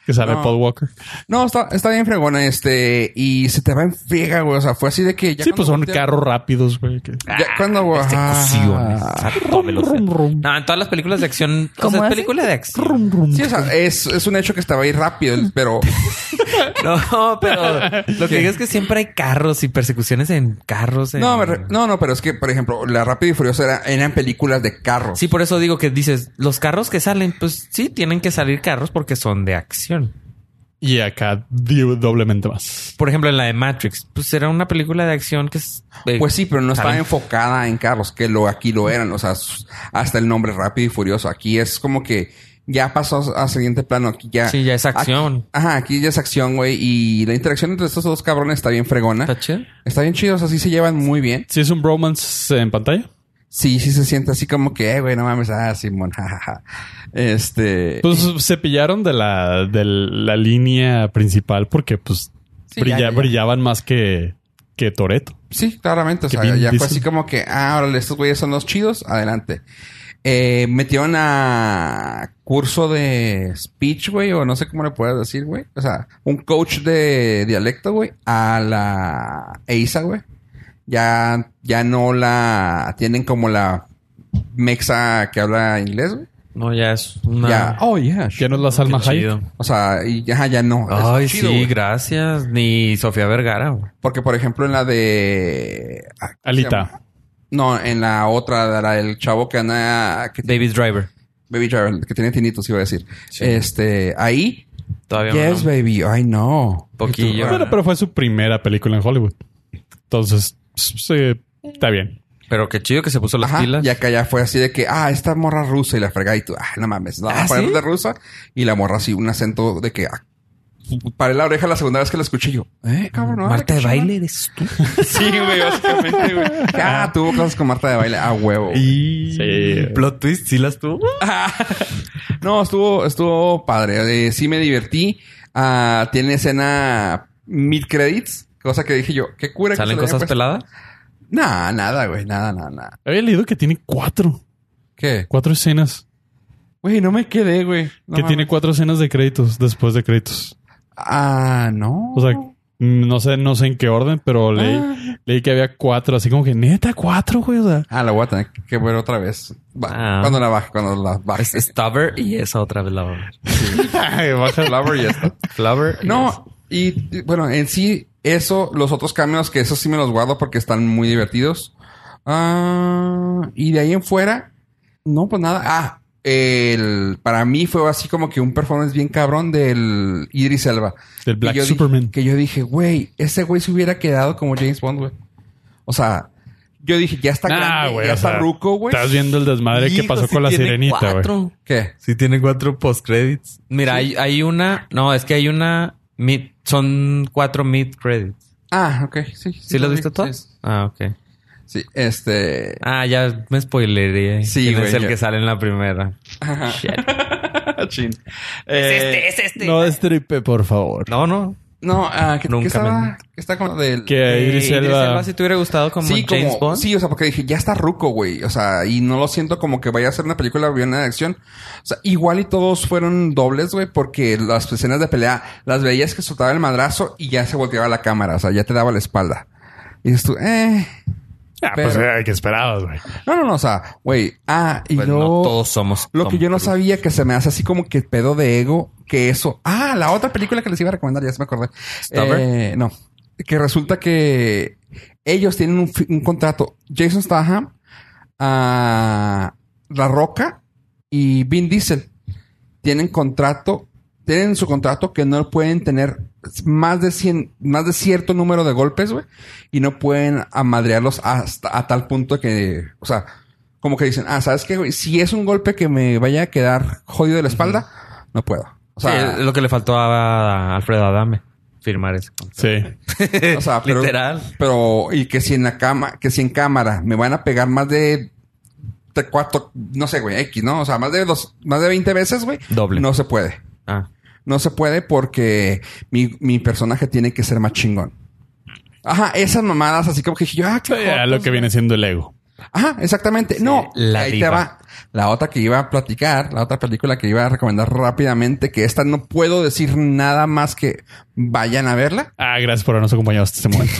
B: Que sale
A: No.
B: Paul Walker.
A: No, está, está bien fregona, este, y se te va en friega, güey. O sea, fue así de que ya.
B: Sí,
A: cuando
B: pues son
A: voltea-
B: carros rápidos, güey. que-
A: Ya cuando, güey.
C: Este, Persecuciones.
A: ah.
C: A toda velocidad. No, en todas las películas de acción. O
D: ¿Cómo
C: sea, es
D: hace?
C: película de acción.
A: Sí, o sea, es, es un hecho que estaba ahí rápido, pero
C: No, pero lo que digo es que siempre hay carros y persecuciones en carros. en-
A: No, me re- no, no, pero es que, por ejemplo, la Rápido y Furiosa era- eran películas de carros.
C: Sí, por eso digo que dices, los carros que salen, pues sí, tienen que salir carros porque son de acción.
B: Y acá dio doblemente más.
C: Por ejemplo, en la de Matrix, pues era una película de acción que es... eh,
A: Pues sí, pero no estaba
C: Saben.
A: enfocada en carros, que lo aquí lo eran. O sea, s- hasta el nombre Rápido y Furioso. Aquí es como que ya pasó a a siguiente plano. Aquí ya.
C: Sí, ya es acción.
A: Aquí- ajá, aquí ya es acción, güey. Y la interacción entre estos dos cabrones está bien fregona.
C: ¿Está chido?
A: Está bien chido, o sea, sí se llevan muy bien.
B: Si es un bromance en pantalla,
A: Sí, sí se siente así como que, eh, güey, no mames, ah, Simón, <laughs> jajaja. Este.
B: pues se pillaron de la, de la línea principal porque pues
A: Sí,
B: brilla-
A: ya, ya, ya.
B: brillaban más que, que Toreto.
A: Sí, claramente. O
B: Que
A: sea,
B: Vin
A: ya fue
B: Diesel.
A: así como que, ah, órale, estos güeyes son los chidos, adelante. Eh, metieron a curso de speech, güey, o no sé cómo le puedes decir, güey. O sea, un coach de dialecto, güey, a la EISA, güey. Ya, ya no la tienen como la mexa que habla inglés, güey.
C: No, ya es una...
A: Ya, oh, yeah.
B: Ya no es la
C: Qué
B: Salma Hayek.
C: chido.
A: O sea, y ya, ya no. Es
C: Ay,
A: chido,
C: sí,
A: güey.
C: gracias. Ni Sofía Vergara. güey.
A: Porque, por ejemplo, en la de... ah, ¿cómo se llama?
B: Alita.
A: No, en la otra, la del chavo que anda. Que
C: Baby Driver.
A: Baby Driver, que tiene tinitos, iba a decir.
C: Sí.
A: Este, ahí.
C: Todavía
A: yes,
C: no.
A: baby. Ay, no.
C: Poquillo.
A: Y tú,
B: Bueno, pero fue su primera película en Hollywood. Entonces, sí, está bien.
C: Pero qué chido que se puso las
A: Ajá,
C: pilas.
A: y acá ya fue así de que, ah, esta morra rusa y la fregada y tú, ah, no mames, no,
C: ¿Ah,
A: para
C: sí?
A: de rusa y la morra así, un acento de que, ah, paré la oreja la segunda vez que la escuché yo, eh, cabrón, ahora
C: Marta
A: qué
C: de
A: chingón.
C: baile eres tú.
A: Sí, güey, básicamente, güey. Ah, tuvo cosas con Marta de baile, a huevo.
C: Y...
B: Sí.
C: Plot twist, sí las tuvo.
A: No, estuvo, estuvo padre. Eh, sí me divertí. Ah, tiene escena mid credits, cosa que dije yo, qué cura
C: ¿Salen
A: que se la
C: cosas
A: hayan puesto.
C: peladas?
A: Nah, nada, güey, nada, nada, nada.
B: Había leído que tiene cuatro,
A: ¿Qué?
B: cuatro escenas.
A: Güey, no me quedé, güey. No
B: que
A: mames.
B: tiene cuatro escenas de créditos después de créditos.
A: Ah, no.
B: O sea, mm, no sé, no sé en qué orden, pero leí,
A: Ah.
B: leí que había cuatro, así como que neta, cuatro, güey. O sea,
A: Ah, la voy a tener que ver otra vez. Va,
C: Ah.
A: Cuando la baje, cuando la baje.
C: Es Stubber y esa otra vez la voy a ver.
A: Flower y ya está.
C: Flubber.
A: No, y y, bueno, en sí, eso, los otros cambios que esos sí me los guardo porque están muy divertidos. Ah, y de ahí en fuera, no, pues nada. Ah, el, para mí fue así como que un performance bien cabrón del Idris Elba.
B: Del
A: Que
B: Black
A: yo di-
B: Superman.
A: que yo dije, güey, ese güey se hubiera quedado como James Bond, güey. O sea, Yo dije, ya está grande, ya
B: o
A: está
B: sea,
A: ruco, güey.
B: Estás viendo el desmadre que
C: Hijo,
B: pasó
C: sí
B: con la
C: tiene
B: sirenita, güey.
C: cuatro.
A: ¿Qué?
E: Sí tiene cuatro postcredits.
C: Mira, hay, hay una. No, es que hay una. mid- son cuatro mid credits.
A: Ah, ok, sí.
C: ¿Sí,
A: vi,
C: lo has visto todas?
A: Sí,
C: Ah, ok.
A: sí, este...
C: Ah, ya me spoileré.
A: Sí,
C: Sí,
A: güey,
C: es el
A: ya.
C: que sale en la primera.
A: ajá. <laughs>
C: Shit.
A: Chin. Eh,
D: es este.
B: No destripe, por favor.
C: No, no.
A: No, ah, que, que
C: Nunca
A: estaba...
C: me-
A: Que está como del...
B: Que
C: Eh,
B: Idris
C: Idris
B: Elba-
C: Elba, si te hubiera gustado como
A: Sí,
C: James
A: como,
C: Bond.
A: sí, o sea, porque dije, ya está ruco, güey. O sea, y no lo siento como que vaya a ser una película bien de acción. O sea, igual y todos fueron dobles, güey, porque las escenas de pelea las veías que soltaba el madrazo y ya se volteaba la cámara. O sea, ya te daba la espalda. Y dices tú, eh.
B: Ah,
A: Pero-
B: pues eh, que esperabas, güey.
A: No, no, no, o sea, güey. Ah, y
C: Pues no
A: luego.
C: todos somos.
A: Lo
C: Tom
A: que yo no
C: Cruise.
A: sabía que se me hace así como que pedo de ego, que eso. Ah, la otra película que les iba a recomendar, ya se me acordé.
C: ¿Stubber?
A: Eh, no. Que resulta que ellos tienen un, fi- un contrato. Jason Statham, a La Roca y Vin Diesel tienen contrato, tienen en su contrato que no pueden tener más de 100, más de cierto número de golpes, güey, y no pueden amadrearlos hasta a tal punto que, o sea, como que dicen, ah, ¿sabes qué, güey? Si es un golpe que me vaya a quedar jodido de la espalda, no puedo. O sea,
C: Sí, lo que le faltó a Alfredo Adame firmar eso.
B: Sí.
A: o sea, pero-
C: Literal.
A: Pero, y que si en la cama, que si en cámara me van a pegar más de, de cuatro, no sé, güey, X, ¿no? O sea, más de dos, más de 20 veces, güey.
C: Doble.
A: No se puede.
C: Ah.
A: No se puede porque mi, mi personaje tiene que ser más chingón. Ajá, esas mamadas así como que dije yo, ah, qué
B: Eh,
A: jotos,
B: lo que viene siendo el ego.
A: Ajá, exactamente. no,
C: la
A: ahí te
C: diva.
A: va. La otra que iba a platicar, la otra película que iba a recomendar rápidamente, que esta no puedo decir nada más que vayan a verla.
B: Ah, gracias por habernos acompañado hasta este momento.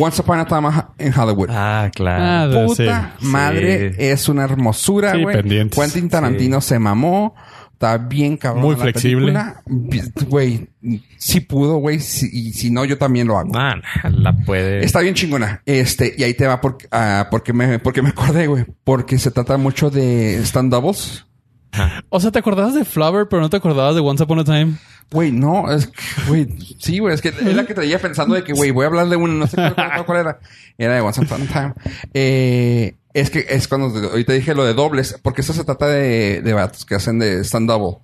A: Once Upon a Time in Hollywood.
C: Ah,
B: Ah,
C: claro.
B: de-
A: Puta
B: sí.
A: madre,
C: Sí.
A: es una hermosura,
B: Sí,
A: güey.
B: pendientes.
A: Quentin Tarantino se mamó. Está bien cabrón.
B: Muy
A: la
B: flexible.
A: película. Vi- Güey, sí pudo, güey. sí- y si no, yo también lo hago.
C: Man, la
B: eh.
C: puede.
A: Está bien chingona. Este, y ahí te va porque, ah, porque, me, porque me acordé, güey. Porque se trata mucho de stand-doubles.
B: <laughs> O sea, te acordabas de Flower, pero no te acordabas de Once Upon a Time.
A: Güey, no, es que, güey, sí, güey, es que es la que traía pensando de que, güey, voy a hablar de uno, no sé cuál, cuál- cuál era. Era de Once Upon a Time. Eh, es que es cuando te- ahorita dije lo de dobles, porque eso se trata de, de vatos que hacen de stand-double.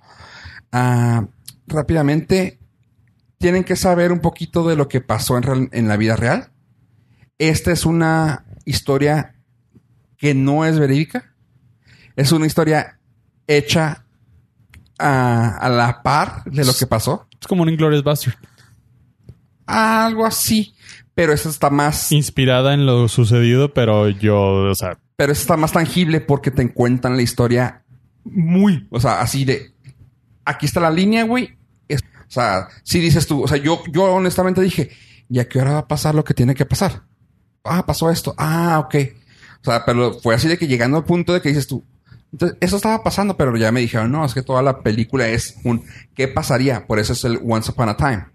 A: Ah, rápidamente, tienen que saber un poquito de lo que pasó en, real- en la vida real. Esta es una historia que no es verídica. Es una historia hecha a, a la par de lo que pasó.
B: Es como un Inglorious Bastard.
A: Algo así. Pero eso está más.
B: Inspirada en lo sucedido, pero yo, o sea,
A: Pero eso está más tangible porque te cuentan la historia muy. O sea, así de. Aquí está la línea, güey. Es- o sea, si dices tú. O sea, yo, yo honestamente dije, ¿y a qué hora va a pasar lo que tiene que pasar? Ah, pasó esto. Ah, ok. O sea, pero fue así de que llegando al punto de que dices tú. Entonces, eso estaba pasando, pero ya me dijeron, no, es que toda la película es un ¿qué pasaría? Por eso es el Once Upon a Time.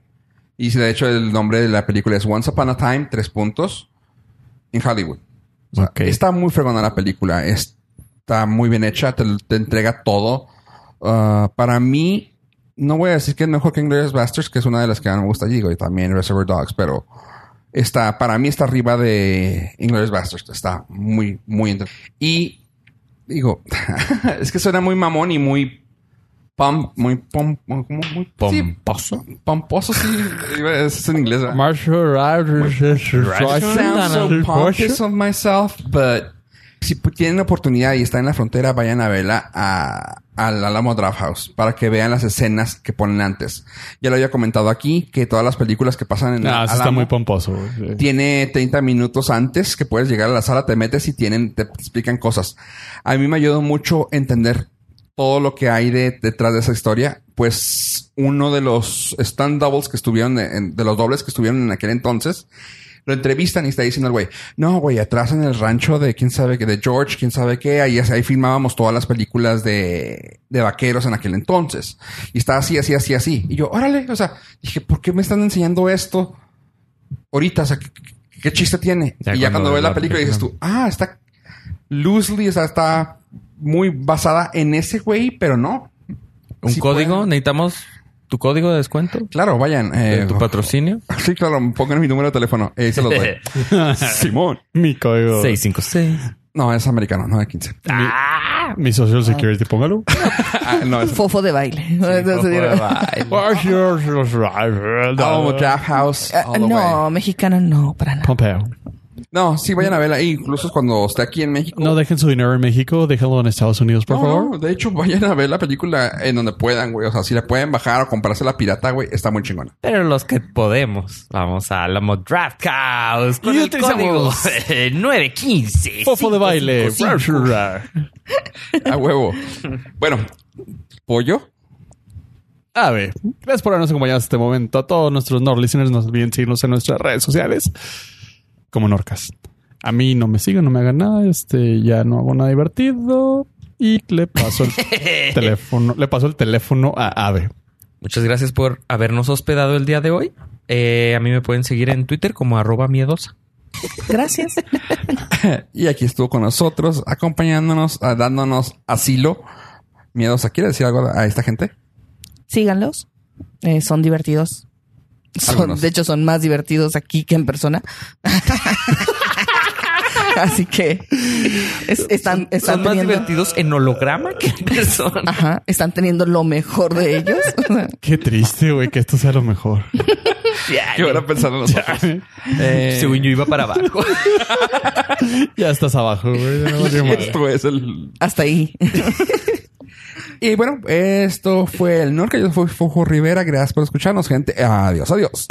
A: Y si de hecho el nombre de la película es Once Upon a Time, tres puntos, en Hollywood. O sea,
B: Ok.
A: Está muy fregona la película. Está muy bien hecha. Te, te entrega todo. Ah, para mí, no voy a decir que es mejor que Inglourious Basterds, que es una de las que más me gusta. Digo, y también Reservoir Dogs, pero está, para mí está arriba de Inglourious Basterds. Está muy, muy inter- Y digo, <laughs> es que suena muy mamón y muy pom, muy pom, muy, muy- sí,
C: pomposo.
A: pomposo, sí. Es en inglés. ¿verdad?
B: Marshall
A: I sound so pompous of myself, but si pu- tienen la oportunidad y están en la frontera, vayan a verla a, al Alamo Draft House para que vean las escenas que ponen antes. Ya lo había comentado aquí que todas las películas que pasan en
B: No,
A: la
B: Ah, eso está
A: Alamo
B: muy pomposo. güey.
A: tiene 30 minutos antes que puedes llegar a la sala, te metes y tienen, te explican cosas. A mí me ayudó mucho entender todo lo que hay de- detrás de esa historia. Pues uno de los stand doubles que estuvieron, en- de los dobles que estuvieron en aquel entonces, lo entrevistan y está diciendo el güey, no, güey, atrás en el rancho de quién sabe qué, de George, quién sabe qué, ahí, ahí filmábamos todas las películas de, de vaqueros en aquel entonces. Y está así, así, así, así. Y yo, órale, o sea, dije, ¿por qué me están enseñando esto ahorita? O sea, ¿qué, qué- qué chiste tiene?
C: Ya
A: y ya cuando
C: cuando
A: ves
C: la
A: la película dices tú, ah, está loosely, o sea, está muy basada en ese güey, pero no.
C: Un
A: Sí
C: código,
A: pueden.
C: necesitamos tu código de descuento,
A: Claro, vayan. eh, <laughs>
C: de tu patrocinio.
A: Sí, claro, pongan mi número de teléfono. Eh, se los
C: <laughs>
A: doy. Simón.
B: Mi código.
C: 656.
A: No, es americano, no de <laughs> 15.
B: Mi social security, <laughs> póngalo.
A: Ah, no, es. <laughs>
D: Fofo de baile. Entonces, digo,
B: Ah,
A: Oh, Draft House.
D: ah,
A: all the way.
D: no, mexicano no, para nada.
B: Pompeo.
A: No, sí, vayan a verla. E Incluso cuando esté aquí en México.
B: No dejen su dinero en México, déjenlo en Estados Unidos, por
A: No,
B: favor.
A: De hecho, vayan a ver la película en donde puedan, güey. O sea, si la pueden bajar o comprarse la pirata, güey, está muy chingona.
C: Pero los que podemos, vamos a Alamo Draft House con
B: Y
C: el código <laughs>
B: utilizamos-
C: 915.
B: Fofo de baile.
A: A <laughs> huevo. bueno, pollo. <laughs>
B: A ver, gracias por habernos acompañado hasta este momento. A todos nuestros Nord listeners, no olviden seguirnos en nuestras redes sociales como Norcas. A mí no me sigan, no me hagan nada. Este, ya no hago nada divertido. Y le paso el teléfono, le paso el teléfono a Ave.
C: Muchas gracias por habernos hospedado el día de hoy. Eh, a mí me pueden seguir en Twitter como arroba miedosa.
D: Gracias.
A: Y aquí estuvo con nosotros, acompañándonos, a- dándonos asilo. Miedosa, ¿quiere decir algo a esta gente?
D: Síganlos. Eh, son divertidos. Son-
A: Algunos.
D: de hecho, son más divertidos aquí que
C: <laughs>
D: en persona. Así que es- están, están
C: Son más
D: teniendo-
C: divertidos en holograma que en persona.
D: Ajá, están teniendo lo mejor de ellos. <laughs>
B: Qué triste, güey, que esto sea lo mejor.
A: Yo ahora pensando <laughs> en nosotros. Eh,
C: <laughs> Según yo iba para abajo.
B: ya estás abajo, güey. ya no valió madre.
A: esto es el.
D: Hasta ahí.
A: Y bueno, esto fue el Norca. Yo soy Fojo Rivera. Gracias por escucharnos, gente. Adiós, adiós.